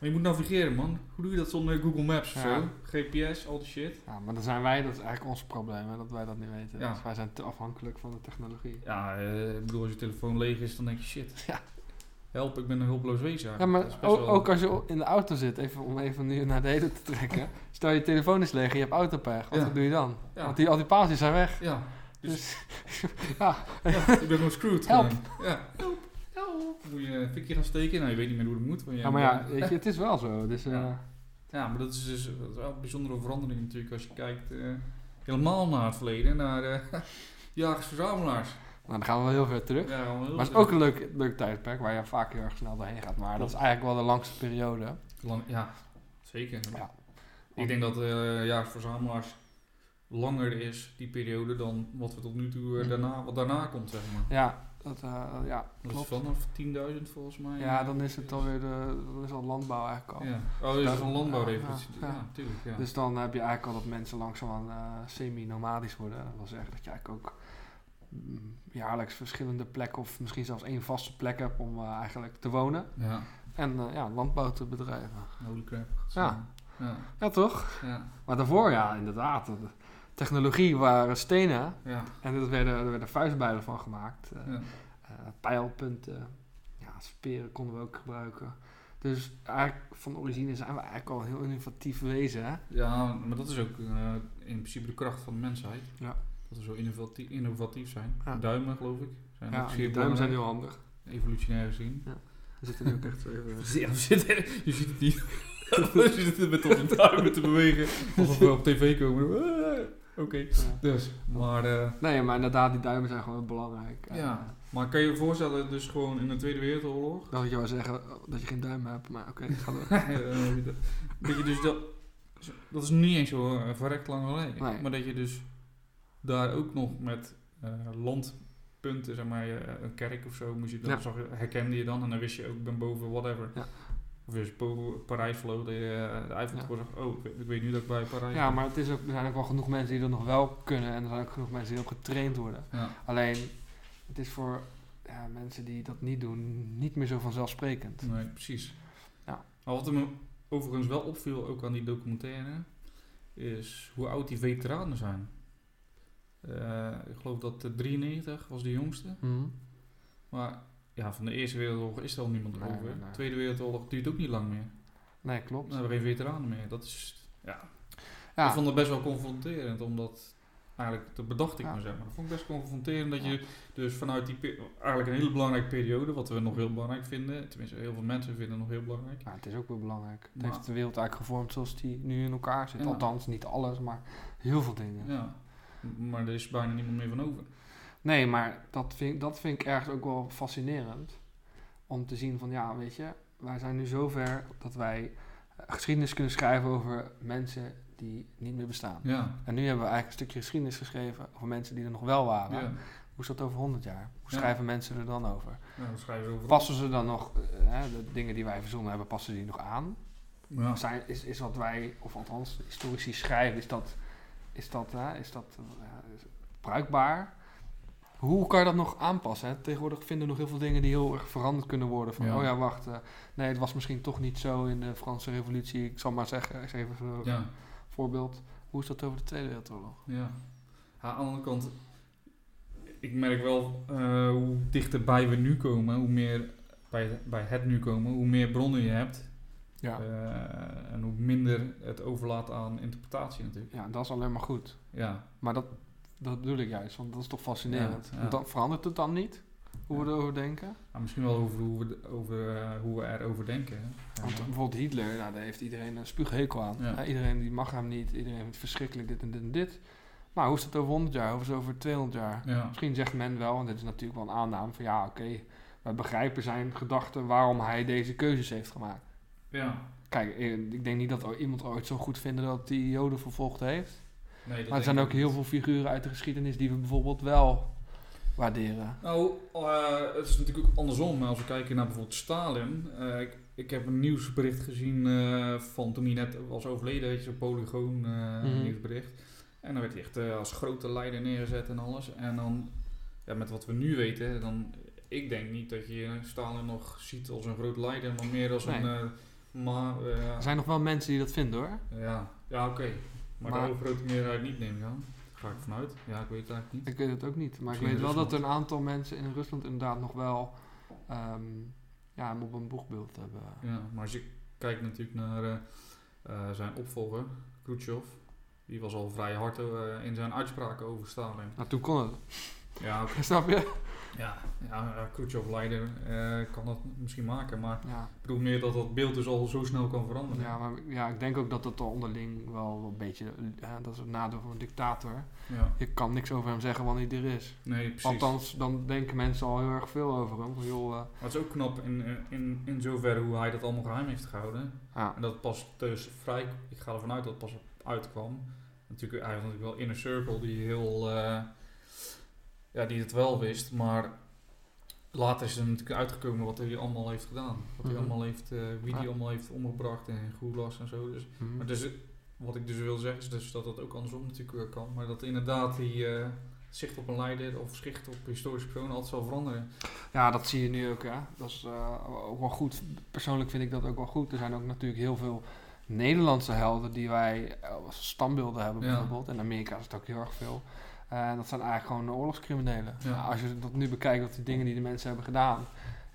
S2: maar je moet navigeren, man. Hoe doe je dat zonder Google Maps of
S1: Ja.
S2: zo? GPS, al die shit.
S1: Ja, maar dan zijn wij, dat is eigenlijk ons probleem, hè, dat wij dat niet weten.
S2: Ja.
S1: Dus wij zijn te afhankelijk van de technologie.
S2: Ja, eh, ik bedoel, als je telefoon leeg is, dan denk je, shit.
S1: Ja.
S2: Help, ik ben een hulpeloos wezen.
S1: Ja,
S2: eigenlijk.
S1: maar
S2: Dat is best
S1: ook,
S2: wel-
S1: ook als je in de auto zit, even om even nu naar de heden te trekken. Stel je telefoon is leeg en je hebt autopech, wat
S2: Ja.
S1: doe je dan?
S2: Ja.
S1: Want die, al die paaltjes zijn weg.
S2: Ja,
S1: Dus,
S2: Dus-
S1: ja,
S2: ik ben gewoon screwed.
S1: Dus- Help.
S2: gewoon. Ja. Moet je een fikje gaan steken? Nou, je weet niet meer hoe dat moet. want je-
S1: ja, maar ja, weet je, het is wel zo. Dus, eh,
S2: Ja. Ja, maar dat is dus dat is wel een bijzondere verandering natuurlijk als je kijkt eh, helemaal naar het verleden, naar eh jagers-verzamelaars.
S1: Nou, dan gaan we wel heel ver terug.
S2: Ja, allemaal heel
S1: Maar het is ook een leuk, leuk tijdperk waar je vaak heel erg snel doorheen gaat. Maar dat is eigenlijk wel de langste periode.
S2: Lang- ja, zeker.
S1: Ja.
S2: Ik denk dat eh jagers-verzamelaars langer is, die periode, dan wat we tot nu toe eh,
S1: Mhm.
S2: daarna, wat daarna komt, zeg maar.
S1: Ja, dat, eh, ja,
S2: Dat
S1: klopt.
S2: is vanaf 10.000 volgens mij.
S1: Ja, dan is het alweer de, dan is al landbouw eigenlijk al.
S2: Ja. Oh, dat is een landbouwrevolutie.
S1: Ja,
S2: Ja,
S1: ja.
S2: tuurlijk. Ja.
S1: Dus dan heb je eigenlijk al dat mensen langzaamaan eh semi-nomadisch worden. Dat wil zeggen dat je eigenlijk ook mm, jaarlijks verschillende plekken of misschien zelfs één vaste plek hebt om eh, eigenlijk te wonen.
S2: ja.
S1: en eh, ja, landbouw te bedrijven.
S2: Holy crap.
S1: Ja.
S2: Ja.
S1: Ja, toch?
S2: Ja.
S1: Maar daarvoor, ja, inderdaad. de technologie waren stenen
S2: Ja.
S1: en er werden, er werden vuistbijlen van gemaakt. eh,
S2: Ja.
S1: eh, pijlpunten, ja, speren konden we ook gebruiken. Dus eigenlijk van origine zijn we eigenlijk al een heel innovatief wezen. Hè?
S2: Ja, maar dat is ook eh, in principe de kracht van de mensheid.
S1: Ja.
S2: Dat we zo innovatief, innovatief zijn.
S1: Ja.
S2: Duimen, geloof ik. Zijn
S1: Ja,
S2: ook
S1: die
S2: zeer
S1: duimen zijn heel
S2: belangrijk.
S1: handig.
S2: Evolutionair gezien.
S1: We zitten nu ook echt zo even...
S2: Dus Ja, we zitten, je ziet het niet. we zitten met onze duimen te bewegen. Alsof we op tv komen. Eh, Oké.
S1: Ja.
S2: Dus, maar... eh,
S1: Nee, maar inderdaad, die duimen zijn gewoon belangrijk. En,
S2: ja. Maar kan je je voorstellen, dus gewoon in de Tweede Wereldoorlog...
S1: eh, Dat je wel zeggen oh, dat je geen duim hebt, maar oké, ga door.
S2: Eh, dat je dus dat, dat is niet eens zo eh, verrekt lang geleden.
S1: Nee.
S2: Maar dat je dus daar ook nog met eh, landpunten, zeg maar, eh, een kerk of zo, moest je dan,
S1: Ja.
S2: zag je- herkende je dan en dan wist je ook, ik ben boven whatever.
S1: Ja.
S2: Of als je boven Parijs vloog, dat je eh, de Eiffeltoren zag, oh, ik weet, ik weet nu dat ik bij Parijs
S1: Ja,
S2: ben.
S1: maar het is ook, er zijn ook wel genoeg mensen die dat nog wel kunnen en er zijn ook genoeg mensen die op getraind worden.
S2: Ja.
S1: Alleen, het is voor ja, mensen die dat niet doen, niet meer zo vanzelfsprekend.
S2: Nee, precies.
S1: Ja.
S2: Maar wat me overigens wel opviel, ook aan die documentaire, is hoe oud die veteranen zijn. Eh, ik geloof dat eh, 93 was de jongste.
S1: Mhm.
S2: Maar ja, van de Eerste Wereldoorlog is er al niemand
S1: Nee,
S2: over.
S1: nee, nee.
S2: Tweede Wereldoorlog duurt ook niet lang meer.
S1: Nee,
S2: Dan
S1: klopt.
S2: hebben we geen veteranen meer. Dat is, ja.
S1: Ja,
S2: Ik vond het best wel confronterend, omdat eigenlijk, dat bedacht ik
S1: Ja.
S2: me zeg maar. Dat vond ik best confronterend dat
S1: Ja.
S2: je dus vanuit die, pe- eigenlijk een hele belangrijke periode, wat we nog heel belangrijk vinden, tenminste heel veel mensen vinden het nog heel belangrijk.
S1: maar het is ook wel belangrijk. Het
S2: Maar-
S1: heeft de wereld eigenlijk gevormd zoals die nu in elkaar zit.
S2: Ja.
S1: Althans, niet alles, maar heel veel dingen.
S2: Ja, M- maar er is bijna niemand meer van over.
S1: Nee, maar dat vind, dat vind ik ergens ook wel fascinerend. Om te zien van, ja, weet je, wij zijn nu zover dat wij eh, geschiedenis kunnen schrijven over mensen die niet meer bestaan.
S2: Ja,
S1: En nu hebben we eigenlijk een stukje geschiedenis geschreven over mensen die er nog wel waren.
S2: ja.
S1: Hoe is dat over 100 jaar? Hoe
S2: Ja.
S1: schrijven mensen er dan over?
S2: ja dan Nou, schrijven ze over.
S1: Passen ze dan nog, eh, hè, de dingen die wij verzonnen hebben, passen die nog aan?
S2: Ja.
S1: Zijn, is, is wat wij, of althans historici schrijven, is dat, is dat, hè, is dat eh, is- bruikbaar? Hoe kan je dat nog aanpassen? Hè? Tegenwoordig vinden we nog heel veel dingen die heel erg veranderd kunnen worden. Van,
S2: Ja.
S1: oh ja, wacht, eh, nee, het was misschien toch niet zo in de Franse revolutie. Ik zal maar zeggen, ik zeg even een eh,
S2: ja.
S1: voorbeeld. Hoe is dat over de Tweede Wereldoorlog?
S2: Ja. Ja, aan de andere kant, ik merk wel eh, hoe dichterbij we nu komen, hoe meer bij, bij het nu komen, hoe meer bronnen je hebt
S1: Ja.
S2: eh, en hoe minder het overlaat aan interpretatie natuurlijk.
S1: ja, dat is alleen maar goed.
S2: Ja,
S1: Maar dat, dat bedoel ik juist, want dat is toch fascinerend.
S2: Ja, ja.
S1: Want Dan, verandert het dan niet, hoe we erover denken?
S2: maar misschien wel over hoe we, de- over, eh, hoe we erover denken. hè.
S1: Want
S2: Ja.
S1: bijvoorbeeld Hitler, nou, daar heeft iedereen een spuughekel aan.
S2: Ja.
S1: Ja, iedereen die mag hem niet, iedereen vindt het verschrikkelijk dit en dit en dit. Maar hoe is het over 100 jaar, hoe is het over 200 jaar?
S2: ja.
S1: Misschien zegt men wel, en dit is natuurlijk wel een aanname, van ja, oké, wij begrijpen zijn gedachten waarom hij deze keuzes heeft gemaakt.
S2: ja.
S1: Kijk, eh, ik denk niet dat er iemand ooit zo goed vinden dat die Joden vervolgd heeft.
S2: Nee, dat
S1: Maar er
S2: denk
S1: zijn
S2: ik
S1: ook heel veel figuren uit de geschiedenis die we bijvoorbeeld wel waarderen.
S2: Nou, eh, het is natuurlijk ook andersom. Maar als we kijken naar bijvoorbeeld Stalin. eh, ik, ik heb een nieuwsbericht gezien eh, van toen hij net was overleden. Weet je, zo'n polygoon eh,
S1: Mhm.
S2: nieuwsbericht. En dan werd hij echt eh, als grote leider neergezet en alles. En dan, ja, met wat we nu weten, dan... Ik denk niet dat je Stalin nog ziet als een groot leider, maar meer als een... eh, ma, eh,
S1: Er zijn nog wel mensen die dat vinden hoor.
S2: ja, ja oké. Maar,
S1: Maar-
S2: de overgrote meerderheid niet, neem ik aan. Ga ik vanuit. Ja, ik weet het eigenlijk niet.
S1: Ik weet het ook niet. Maar ik
S2: Misschien
S1: weet wel dat
S2: Rusland.
S1: er een aantal mensen in Rusland inderdaad nog wel ehm, ja, hem op een boegbeeld hebben.
S2: Ja, maar als je kijkt natuurlijk naar eh, eh, zijn opvolger, Khrushchev. Die was al vrij hard eh, in zijn uitspraken over Stalin.
S1: Nou, toen kon het.
S2: Ja, oké.
S1: Snap je?
S2: ja, ja eh, Khrushchev leider eh, kan dat misschien maken. Maar
S1: Ja,
S2: ik bedoel meer dat dat beeld dus al zo snel kan veranderen.
S1: ja, maar, ja ik denk ook dat dat al onderling wel een beetje... eh, dat is het nadeel van een dictator.
S2: Ja,
S1: Je kan niks over hem zeggen wanneer hij er is.
S2: nee, precies.
S1: Althans, dan denken mensen al heel erg veel over hem. Van, joh, eh,
S2: Maar het is ook knap in, eh, in, in zoverre hoe hij dat allemaal geheim heeft gehouden.
S1: ja.
S2: En dat pas dus vrij, ik ga ervan uit dat het pas uitkwam. Natuurlijk, hij had natuurlijk wel Inner Circle die heel, eh, ja, die het wel wist, maar later is er natuurlijk uitgekomen wat hij allemaal heeft gedaan. Wat hij
S1: Mhm.
S2: allemaal heeft, eh, wie
S1: Ja.
S2: die allemaal heeft omgebracht en goelas en zo. Dus,
S1: Mhm.
S2: maar dus, eh, wat ik dus wil zeggen is dus dat dat ook andersom natuurlijk weer kan, maar dat inderdaad die, eh, zicht op een leider of zicht op historische personen altijd zal veranderen.
S1: Ja, dat zie je nu ook. Hè. Dat is eh, ook wel goed. Persoonlijk vind ik dat ook wel goed. Er zijn ook natuurlijk heel veel Nederlandse helden die wij eh, als standbeelden hebben,
S2: Ja.
S1: bijvoorbeeld. In Amerika is het ook heel erg veel. En dat zijn eigenlijk gewoon de oorlogscriminelen.
S2: Ja.
S1: Nou, als je dat nu bekijkt, dat die dingen die de mensen hebben gedaan,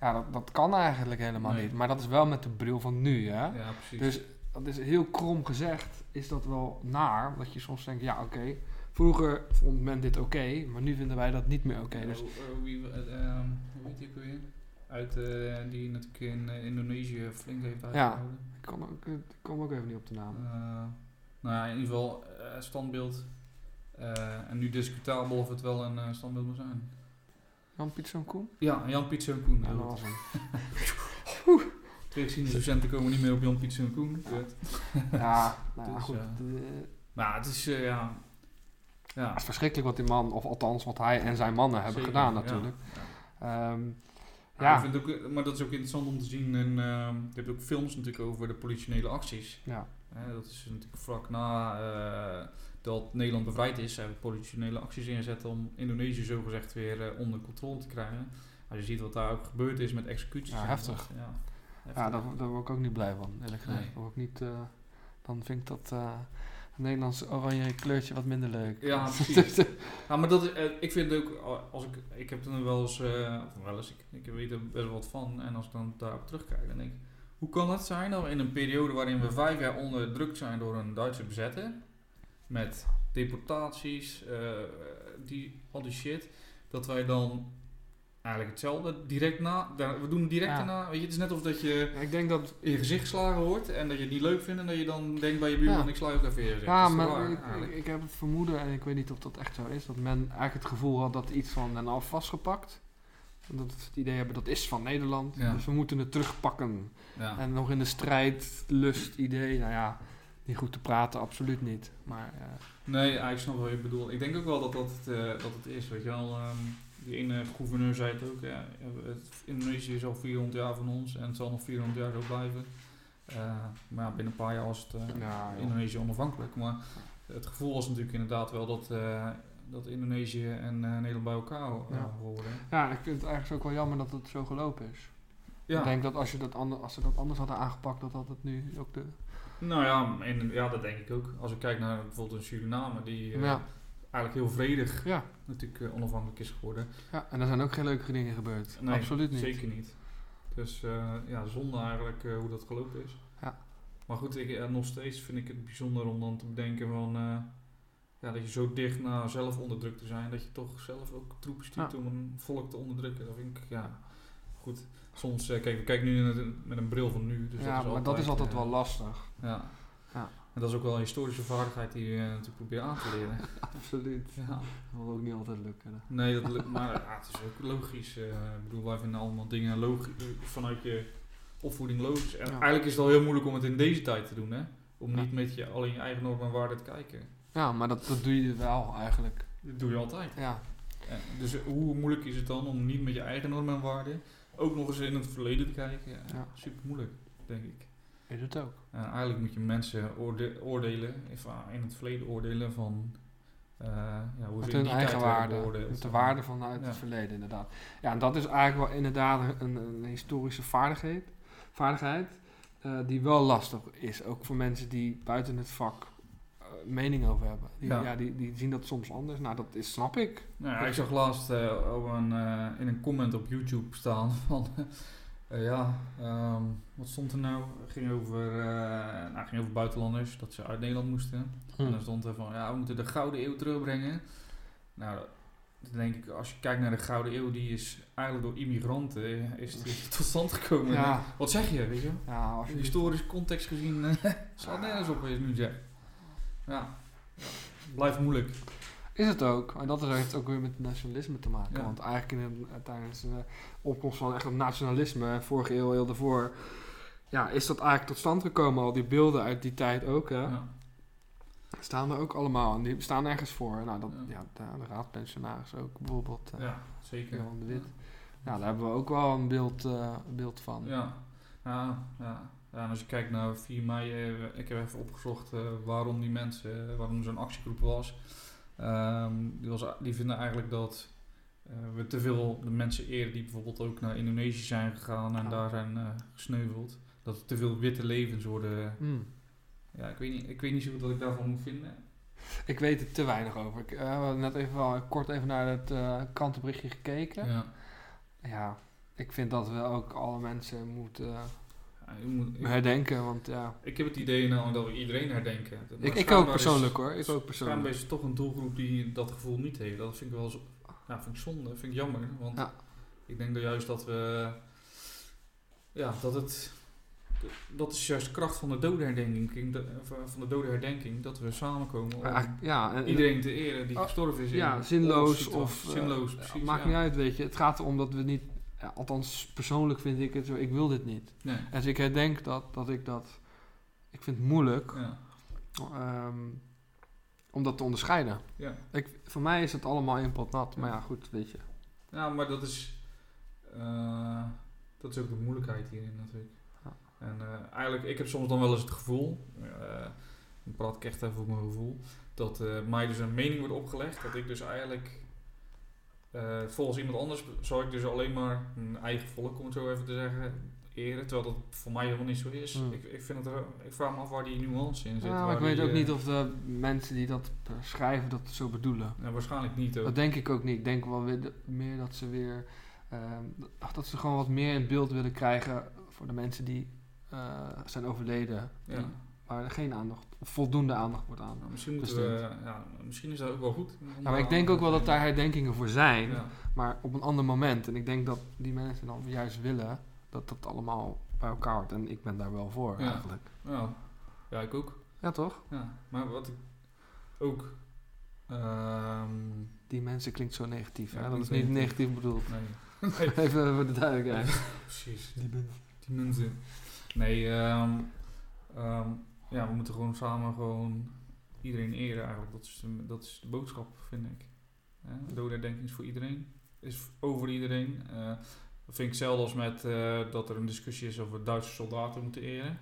S1: ja, dat, dat kan eigenlijk helemaal
S2: Nee.
S1: niet. Maar dat is wel met de bril van nu. Hè.
S2: Ja, precies.
S1: Dus dat is heel krom gezegd, is dat wel naar. Omdat je soms denkt, ja oké, vroeger vond men dit oké, maar nu vinden wij dat niet meer oké.
S2: Eh,
S1: Dus
S2: hoe- eh, wie, eh, ehm, hoe heet die ook weer? Uit, eh, die natuurlijk in eh, Indonesië flink heeft uitgehouden.
S1: ik kom ook, ik kom ook even niet op de naam.
S2: Eh, nou ja, in ieder geval eh, standbeeld. Eh, en nu discutabel of het wel een eh, standbeeld moet zijn.
S1: Jan Pieterszoon Koen?
S2: Ja, Jan Piet en Koen.
S1: Ja,
S2: heel
S1: dat
S2: goed.
S1: was hem.
S2: Twee geschiedenisdocenten komen niet meer op Jan Piet en Koen. Kut.
S1: Ja, nou ja,
S2: Dus,
S1: goed.
S2: ja.
S1: eh,
S2: Maar het is, eh, ja... Ja,
S1: het is verschrikkelijk wat die man, of althans wat hij en zijn mannen hebben
S2: zeker,
S1: gedaan
S2: ja.
S1: natuurlijk.
S2: Ja.
S1: Ehm,
S2: Ja.
S1: Ja.
S2: ik vind het ook, eh, maar dat is ook interessant om te zien. En, ehm, je hebt ook films natuurlijk over de politionele acties.
S1: ja.
S2: Hè, dat is natuurlijk vlak na eh, dat Nederland bevrijd is, hebben we politionele acties ingezet om Indonesië zogezegd weer eh, onder controle te krijgen. Als je ziet wat daar ook gebeurd is met executies.
S1: Ja,
S2: en
S1: heftig.
S2: dat, Ja, heftig.
S1: ja, daar, daar word ik ook niet blij van, eerlijk gezegd.
S2: Nee.
S1: Daar word ik niet, eh, dan vind ik dat eh, het Nederlands oranje kleurtje wat minder leuk.
S2: Ja, precies. Ja, maar dat is, eh, ik vind ook, eh, als ik, ik heb er wel eens, eh, of wel eens, ik, ik weet er best wel wat van. En als ik dan daarop terugkijk, dan denk ik, hoe kan dat zijn dat we in een periode waarin we vijf jaar onderdrukt zijn door een Duitse bezetter, met deportaties, eh, die, al die shit, dat wij dan eigenlijk hetzelfde direct na, daar- we doen direct
S1: Ja.
S2: daarna, weet je, het is net of dat je
S1: ik denk dat...
S2: in je gezicht geslagen wordt en dat je het niet leuk vindt en dat je dan denkt bij je buurman,
S1: Ja.
S2: ik sla je ook even in je gezicht.
S1: Ja,
S2: Dat is toch
S1: maar
S2: waar,
S1: ik, ik,
S2: eigenlijk?
S1: ik heb het vermoeden, en ik weet niet of dat echt zo is, dat men eigenlijk het gevoel had dat iets van Den af vastgepakt. En Dat ze het idee hebben dat is van Nederland,
S2: Ja.
S1: dus we moeten het terugpakken.
S2: ja.
S1: Ah. En nog in de strijd, lust, idee, nou ja, niet goed te praten, absoluut niet. Maar eh,
S2: Nee, ja, ik snap wat je bedoelt. Ik denk ook wel dat dat het, eh, dat het is, weet je wel. Ehm, die ene gouverneur zei het ook, ja, het- Indonesië is al 400 jaar van ons en het zal nog 400 jaar zo blijven. Eh, maar ja, binnen een paar jaar was het eh,
S1: Ja, joh.
S2: Indonesië onafhankelijk. Maar het gevoel was natuurlijk inderdaad wel dat, eh, dat Indonesië en eh, Nederland bij elkaar eh,
S1: Ja.
S2: horen.
S1: ja, ik vind het eigenlijk ook wel jammer dat het zo gelopen is.
S2: Ja,
S1: Ik denk dat als, je dat ander, als ze dat anders hadden aangepakt, dat had het nu ook de...
S2: nou ja, en, ja, dat denk ik ook. Als ik kijk naar bijvoorbeeld een Suriname, die eh,
S1: Ja,
S2: eigenlijk heel vredig
S1: ja.
S2: natuurlijk eh, onafhankelijk is geworden.
S1: ja, en er zijn ook geen leuke dingen gebeurd.
S2: Nee,
S1: absoluut niet.
S2: Zeker niet. Dus eh, ja, zonde eigenlijk eh, hoe dat gelopen is.
S1: Ja.
S2: Maar goed, ik, eh, nog steeds vind ik het bijzonder om dan te bedenken van... eh, ja, dat je zo dicht na zelf onderdrukt te zijn... dat je toch zelf ook troepen stuurt
S1: Ja.
S2: om een volk te onderdrukken. Dat vind ik, ja... Goed, soms... eh, kijk, we kijken nu met een, met een bril van nu. Dus
S1: ja, maar
S2: dat is altijd,
S1: dat is altijd
S2: eh,
S1: wel lastig.
S2: Ja.
S1: Ja.
S2: En dat is ook wel een historische vaardigheid die je eh, natuurlijk probeert aan te leren.
S1: Absoluut.
S2: ja.
S1: Dat wil ook niet altijd lukken. hè.
S2: Nee, dat lukt, maar ja, het is ook logisch. eh, ik bedoel, wij vinden allemaal dingen logi- eh, vanuit je opvoeding logisch. En
S1: Ja.
S2: eigenlijk is het al heel moeilijk om het in deze tijd te doen, hè? Om
S1: Ja.
S2: niet met je alleen je eigen normen en waarden te kijken.
S1: Ja, maar dat, dat doe je wel eigenlijk.
S2: Dat doe je altijd.
S1: Ja,
S2: En dus hoe moeilijk is het dan om niet met je eigen normen en waarden ook nog eens in het verleden te kijken? Ja,
S1: Ja.
S2: Super moeilijk, denk ik.
S1: is het ook.
S2: En eigenlijk moet je mensen oorde- oordelen, of, ah, in het verleden oordelen van eh, ja, hoe
S1: Met
S2: ze
S1: hun
S2: in die
S1: eigen
S2: tijd
S1: waarde.
S2: hebben beoordeeld.
S1: Met de waarde vanuit
S2: Ja.
S1: het verleden, inderdaad. Ja, en dat is eigenlijk wel inderdaad een, een historische vaardigheid. vaardigheid eh, die wel lastig is. Ook voor mensen die buiten het vak eh, mening over hebben. Die,
S2: Ja.
S1: ja. die, die zien dat soms anders. Nou, dat is, snap ik.
S2: Nou, ja, ik zag laatst eh, op een, eh, in een comment op YouTube staan van... eh, ja, ehm, wat stond er nou? Het ging over, eh, nou, het ging over buitenlanders, dat ze uit Nederland moesten. En dan stond er van, ja, we moeten de Gouden Eeuw terugbrengen. Nou, dat- dan denk ik, als je kijkt naar de Gouden Eeuw, die is eigenlijk door immigranten is die tot stand gekomen.
S1: Ja.
S2: Wat zeg je, weet je?
S1: Ja, als je
S2: Historisch context gezien eh, slaat nergens op wat je nu zegt. Ja, blijft moeilijk.
S1: Is het ook. En dat is- heeft ook weer met nationalisme te maken.
S2: Ja.
S1: Want eigenlijk in een, eh, tijdens de opkomst van echt het nationalisme, en vorige eeuw, heel daarvoor, ja, is dat eigenlijk tot stand gekomen. Al die beelden uit die tijd ook, hè,
S2: Ja.
S1: staan er ook allemaal. En die staan ergens voor. Nou, dat,
S2: Ja.
S1: ja. de, de raadpensionaris ook bijvoorbeeld. eh,
S2: Ja, zeker.
S1: Johan de Wit. Ja, daar hebben we ook wel een beeld, eh, beeld van.
S2: Ja. Ja, ja. ja, en als je kijkt naar 4 mei, eh, ik heb even opgezocht eh, waarom die mensen, eh, waarom zo'n actiegroep was. Ehm, die, was, die vinden eigenlijk dat eh, we te veel de mensen eerder die bijvoorbeeld ook naar Indonesië zijn gegaan en
S1: Ja.
S2: daar zijn eh, gesneuveld, dat er te veel witte levens worden.
S1: Hmm.
S2: Ja, ik weet niet, ik weet niet zo goed wat ik daarvan moet vinden.
S1: Ik weet er te weinig over. Ik eh, we hadden net even wel kort even naar het eh, kantenberichtje gekeken. Ja.
S2: Ja.
S1: ik vind dat we ook alle mensen moeten eh,
S2: Ja, ik, moet, ik,
S1: herdenken. Want ja,
S2: ik heb het idee nou dat we iedereen herdenken. Maar
S1: ik, ik ook
S2: schijnbaar is-
S1: persoonlijk hoor. Ik ook
S2: Schijnbaar
S1: persoonlijk.
S2: is het toch een doelgroep die dat gevoel niet heeft. Dat vind ik wel zo, ja, vind ik zonde, vind ik jammer. Want
S1: Ja.
S2: ik denk dat juist dat we. Ja, dat het. Dat is juist de kracht van de dodenherdenking. dat- Van de dodenherdenking dat we samenkomen om
S1: Maar eigenlijk- Ja, en- en-
S2: iedereen te eren die
S1: Oh,
S2: gestorven is. Dus in
S1: ja,
S2: een
S1: zinloos
S2: oorlogssituatie.
S1: of... eh,
S2: zinloos, precies.
S1: maakt
S2: ja.
S1: niet uit, weet je. Het gaat erom dat we niet... ja, althans, persoonlijk vind ik het zo. Ik wil dit niet.
S2: Nee,
S1: En dus ik herdenk dat, dat ik dat... Ik vind het moeilijk
S2: ja,
S1: ehm, om dat te onderscheiden.
S2: ja.
S1: Ik, voor mij is het allemaal in pot nat. Maar
S2: Ja.
S1: ja, goed, weet je.
S2: Ja, Nou, maar dat is. eh, dat is ook de moeilijkheid hierin natuurlijk.
S1: Ja.
S2: En eh, eigenlijk, ik heb soms dan wel eens het gevoel. eh dan praat ik echt even op mijn gevoel. Dat eh, mij dus een mening wordt opgelegd. Dat ik dus eigenlijk. eh, volgens iemand anders zou ik dus alleen maar mijn eigen volk, om het zo even te zeggen, eren. Terwijl dat voor mij helemaal niet zo is.
S1: Hmm.
S2: Ik, ik, vind het, ik vraag me af waar die nuance in zit.
S1: Ja, maar
S2: waar
S1: Nou, ik weet
S2: die,
S1: ook
S2: eh,
S1: niet of de mensen die dat eh, schrijven dat zo bedoelen.
S2: nou, waarschijnlijk niet. Ook.
S1: Dat denk ik ook niet. Ik denk wel weer de- meer dat ze weer... ehm, ach, dat ze gewoon wat meer in beeld willen krijgen voor de mensen die eh, zijn overleden.
S2: Ja.
S1: Die- Waar er geen aandacht, of voldoende aandacht wordt aan.
S2: Nou, misschien, moeten we,
S1: Besteed.
S2: ja, misschien is dat ook wel goed.
S1: Ja, maar ik denk ook wel dat daar herdenkingen voor zijn,
S2: Ja.
S1: maar op een ander moment. En ik denk dat die mensen dan juist willen dat dat allemaal bij elkaar wordt. En ik ben daar wel voor,
S2: Ja.
S1: eigenlijk.
S2: Ja, ja ik ook.
S1: Ja, toch?
S2: Ja. Maar wat ik ook. ehm,
S1: Die mensen klinkt zo negatief.
S2: Ja,
S1: hè? Dat
S2: klinkt
S1: is niet
S2: negatief.
S1: negatief bedoeld.
S2: nee,
S1: Even voor de duidelijkheid.
S2: precies. Die mensen. Nee, ehm, ehm, ja, we moeten gewoon samen gewoon iedereen eren eigenlijk. Dat is de, dat is de boodschap, vind ik. Ja, dodenherdenking is voor iedereen. Is v- over iedereen. Eh, dat vind ik hetzelfde als met eh, dat er een discussie is over Duitse soldaten moeten eren.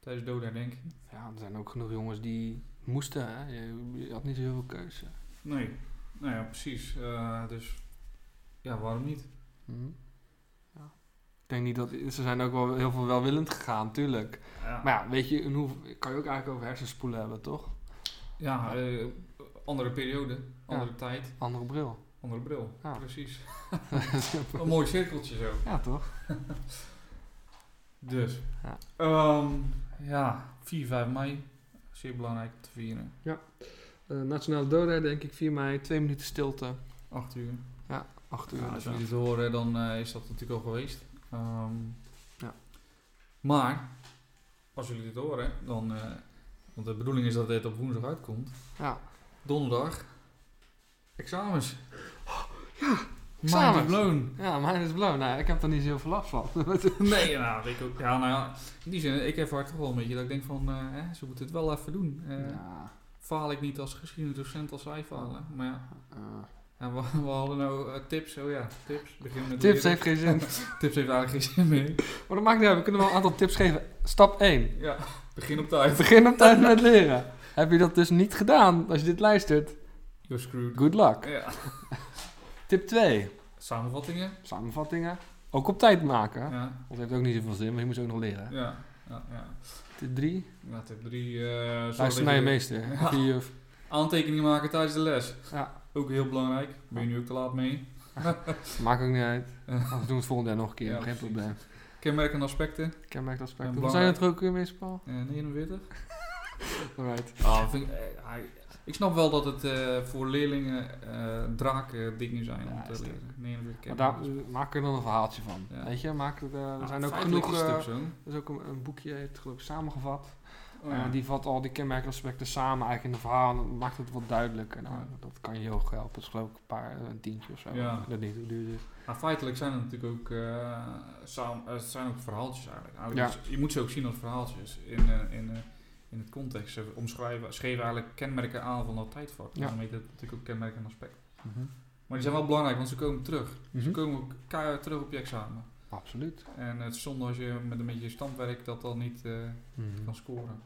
S2: Tijdens dodenherdenking.
S1: Ja, er zijn ook genoeg jongens die moesten. Hè? Je, je had niet zo heel veel keuze.
S2: Nee, nou ja, precies. Eh, dus ja, waarom niet?
S1: Hm? Ja. Ik denk niet dat... Ze zijn ook wel heel veel welwillend gegaan, tuurlijk. Maar ja, weet je, in hoe, kan je ook eigenlijk over hersenspoelen hebben, toch?
S2: ja, eh, andere periode, andere tijd,
S1: Andere bril.
S2: andere bril.
S1: Ja.
S2: Precies. Een mooi cirkeltje zo.
S1: ja, toch?
S2: Dus,
S1: Ja.
S2: ehm, ja, 4, 5 mei. Zeer belangrijk om te vieren.
S1: Eh, Nationale Doda, denk ik, 4 mei. Twee minuten stilte.
S2: 8 uur.
S1: 8 uur.
S2: Ja, als
S1: dus ja.
S2: jullie het horen, dan eh, is dat natuurlijk al geweest. Ehm,
S1: Ja.
S2: Maar, als jullie dit horen, dan... eh, want de bedoeling is dat dit op woensdag uitkomt.
S1: Ja.
S2: Donderdag. Examens.
S1: Examens.
S2: Mind blown.
S1: Ja, mijn is blauw. Nou, ik heb er niet zo heel veel last van.
S2: Nee, nou, ik ook. Ja, nou ja, in die zin, ik ervaar toch wel een beetje dat ik denk van, eh, hè, ze moeten het wel even doen. Eh,
S1: ja.
S2: Faal ik niet als geschiedenisdocent als zij falen. Maar ja,
S1: eh.
S2: ja, we, we hadden nou eh, tips. Oh ja, tips. Begin met
S1: tips
S2: leren.
S1: heeft geen zin.
S2: tips heeft eigenlijk geen zin meer.
S1: Maar dat maakt niet uit. We kunnen wel een aantal tips geven. Stap 1.
S2: Ja, begin op tijd.
S1: Begin op tijd met leren. Heb je dat dus niet gedaan als je dit luistert?
S2: You're screwed.
S1: Good luck.
S2: Ja.
S1: Tip 2.
S2: Samenvattingen.
S1: Samenvattingen. Ook op tijd maken.
S2: Ja,
S1: Want
S2: ja,
S1: het heeft ook niet zoveel zin, maar je moet ze ook nog leren.
S2: ja. ja.
S1: Tip 3.
S2: Nou, tip 3. Uh,
S1: Luister naar je meester.
S2: Ja.
S1: Of je juf.
S2: Aantekeningen maken tijdens de les.
S1: Ja.
S2: Ook heel belangrijk. Ben je nu ook te laat mee?
S1: Maakt ook niet uit. Anders doen we het volgende jaar nog een keer.
S2: Ja,
S1: Geen
S2: precies.
S1: probleem.
S2: Kenmerkende aspecten.
S1: Kenmerkaspecten.
S2: En
S1: Hoe zijn het er ook weer meestal?
S2: Eh 49.
S1: Alright.
S2: Ah, vind ik, eh, hij- ik snap wel dat het eh, voor leerlingen eh draken dingen zijn
S1: Ja,
S2: om te
S1: is het
S2: leren. Nee,
S1: Maar
S2: dat
S1: daar, maak er dan een verhaaltje van.
S2: Ja. Nou,
S1: Weet je, maak er, eh, er
S2: Ah,
S1: zijn ook genoeg... eh, er is ook een, een boekje, heeft het geloof ik samengevat.
S2: Oh,
S1: Eh, die vat al die kenmerkaspecten samen eigenlijk in een verhaal en dan maakt het wat duidelijker. Nou,
S2: Ja.
S1: Dat kan je heel erg helpen. Dat is geloof ik een paar, eh, een tientje of zo.
S2: Ja.
S1: Ik weet niet hoe duur het is.
S2: Maar Ah, feitelijk zijn het natuurlijk ook, eh, saam- eh, het zijn ook verhaaltjes eigenlijk. Eigenlijk
S1: Ja.
S2: is- Je moet ze ook zien als verhaaltjes in, eh, in, eh, in het context. Ze omschrijven, schreven eigenlijk kenmerken aan van dat tijdvak.
S1: Ja.
S2: Daarmee dat natuurlijk ook kenmerken en aspecten. Maar die zijn wel belangrijk, want ze komen terug. Mhm. Ze
S1: Mhm.
S2: komen ook keihard terug op je examen.
S1: Absoluut.
S2: En het is zonde als je met een beetje standwerk dat dan niet eh, kan scoren.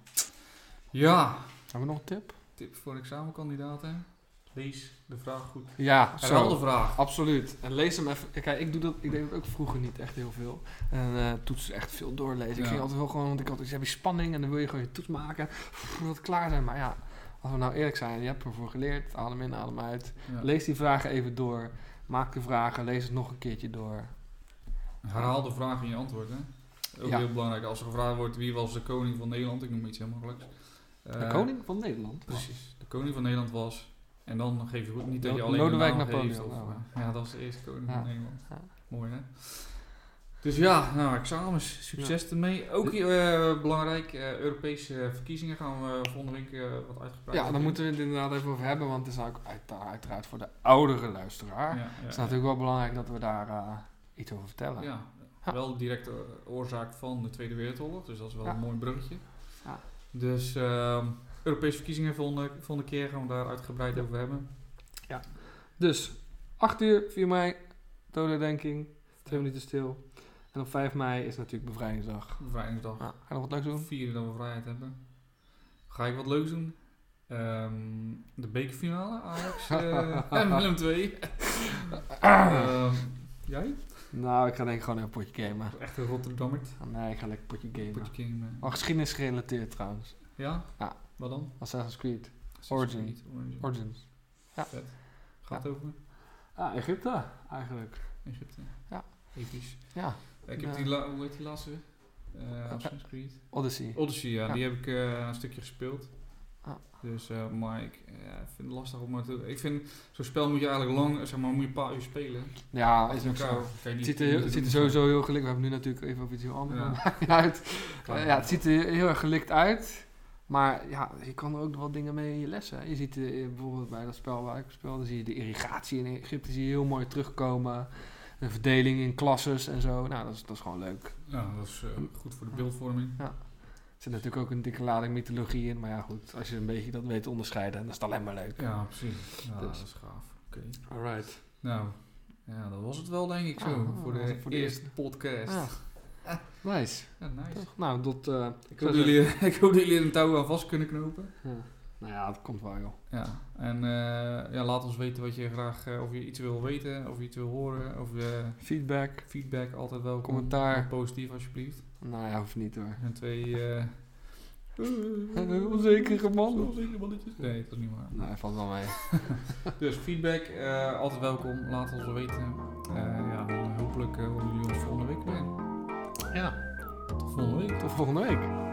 S2: Ja,
S1: Hebben we nog een tip?
S2: tip voor examenkandidaten. Lees de vraag goed.
S1: Ja,
S2: Herhaal
S1: zo.
S2: de vraag.
S1: Absoluut. En lees hem even. Kijk, ik, doe dat, ik deed dat ook vroeger niet echt heel veel. En eh toetsen echt veel doorlezen. Ik
S2: Ja.
S1: ging altijd wel gewoon, want ik had dus heb je spanning en dan wil je gewoon je toets maken. Pff, dat klaar zijn. Maar ja, als we nou eerlijk zijn, je hebt ervoor geleerd. Adem in, adem uit.
S2: Ja.
S1: Lees die vragen even door. Maak de vragen, lees het nog een keertje door.
S2: Herhaal de vraag in je antwoord. Hè? Ook
S1: Ja.
S2: heel belangrijk. Als er gevraagd wordt wie was de koning van Nederland, ik noem iets heel makkelijks.
S1: De
S2: Eh,
S1: koning van Nederland. Dus
S2: Precies. De koning van Nederland was. En dan geef je goed niet dat
S1: Lo-
S2: je alleen
S1: Lodewijk
S2: de naam
S1: Napoleon,
S2: geeft. Of,
S1: nou.
S2: eh, ja, dat was de eerste koning
S1: Ja.
S2: van Nederland.
S1: Ja.
S2: Mooi hè? Dus ja, nou, examens. Succes ermee. Ook eh, belangrijk, eh, Europese verkiezingen gaan we volgende week eh, wat uitgebreid
S1: Ja, daar
S2: doen.
S1: moeten we het inderdaad even over hebben, want het is ook uit- uiteraard voor de oudere
S2: Ja,
S1: luisteraar.
S2: ja,
S1: Het is
S2: ja.
S1: natuurlijk wel belangrijk dat we daar eh, iets over vertellen.
S2: Ja,
S1: Ja.
S2: wel direct de oorzaak van de Tweede Wereldoorlog, dus dat is wel
S1: Ja.
S2: een mooi bruggetje.
S1: Ja.
S2: Dus ehm, Europese verkiezingen volgende, volgende keer gaan we daar uitgebreid over hebben.
S1: Dus 8 uur, 4 mei, dodenherdenking, 2 minuten stil. En op 5 mei is natuurlijk bevrijdingsdag.
S2: Bevrijdingsdag.
S1: Ja, ga je nog wat leuks doen?
S2: Vieren dat we vrijheid hebben. Ga ik wat leuks doen? Ehm, de bekerfinale, Ajax eh, en Willem 2.
S1: Ah.
S2: jij?
S1: Nou, ik ga denk ik gewoon even potje gamen. Oh,
S2: Echt een Rotterdammert.
S1: Nee, ik ga lekker potje gamen.
S2: Potje King, eh.
S1: Wel geschiedenis gerelateerd trouwens.
S2: Ja?
S1: Ja.
S2: Wat dan?
S1: Assassin's Creed, Origin.
S2: Niet, Origin.
S1: Origins.
S2: Gaat over
S1: Ah, Egypte eigenlijk.
S2: Egypte.
S1: Ja.
S2: Episch.
S1: Ja,
S2: Ik heb
S1: Ja.
S2: die, la- hoe heet die laatste? Eh Assassin's Creed.
S1: Odyssey.
S2: Odyssey, ja,
S1: Ja.
S2: die heb ik eh, een stukje gespeeld.
S1: Ah.
S2: Dus, eh, maar ik eh, vind het lastig om het te- Ik vind, zo'n spel moet je eigenlijk lang, eh, zeg maar, moet je een paar uur spelen.
S1: Ja, is
S2: Achter
S1: ook zo.
S2: elkaar kan je
S1: Het
S2: niet-
S1: ziet er,
S2: niet
S1: heel- het ziet er
S2: doen.
S1: sowieso heel gelikt We hebben nu natuurlijk even over iets heel anders.
S2: Ja.
S1: maar maakt niet uit.
S2: Klaar.
S1: Eh, ja, het ziet er heel erg gelikt uit. Maar ja, je kan er ook nog wat dingen mee in je lessen. hè. Je ziet eh, bijvoorbeeld bij dat spel waar ik speelde, zie je de irrigatie in Egypte zie je heel mooi terugkomen. De verdeling in klasses en zo. Nou, dat is, dat is gewoon leuk. Er
S2: Ja, dat is eh, goed voor de beeldvorming.
S1: zit natuurlijk ook een dikke lading mythologie in. Maar ja, goed, als je een beetje dat weet te onderscheiden, dan is het alleen maar leuk.
S2: Ja, precies. Ja,
S1: Dus.
S2: dat is gaaf. Oké.
S1: Alright.
S2: Nou, ja, dat was het wel, denk ik, zo.
S1: Ah,
S2: voor,
S1: dat was
S2: de
S1: het voor de
S2: eerste podcast.
S1: Ja. Nice.
S2: Ja, nice.
S1: Toch? Nou, dat... eh, zou
S2: Ik hoop,
S1: zeggen-
S2: dat jullie, ik hoop dat jullie er een touw aan vast kunnen knopen.
S1: Ja. Nou ja, dat komt wel, joh.
S2: Ja, en eh, ja, laat ons weten wat je graag, eh, of je iets wil weten, of je iets wil horen, of je
S1: Feedback.
S2: feedback altijd welkom.
S1: Commentaar.
S2: Positief alsjeblieft.
S1: Nou ja, hoeft niet hoor.
S2: En twee... eh
S1: onzekere man.
S2: Onzekere mannetjes. Nee, dat is niet waar.
S1: Nou, hij valt wel mee.
S2: Dus feedback, eh, altijd welkom. Laat ons weten. Eh, ja, dan hopelijk eh, horen jullie ons volgende week weer.
S1: Ja,
S2: Tot volgende week.
S1: tot volgende week.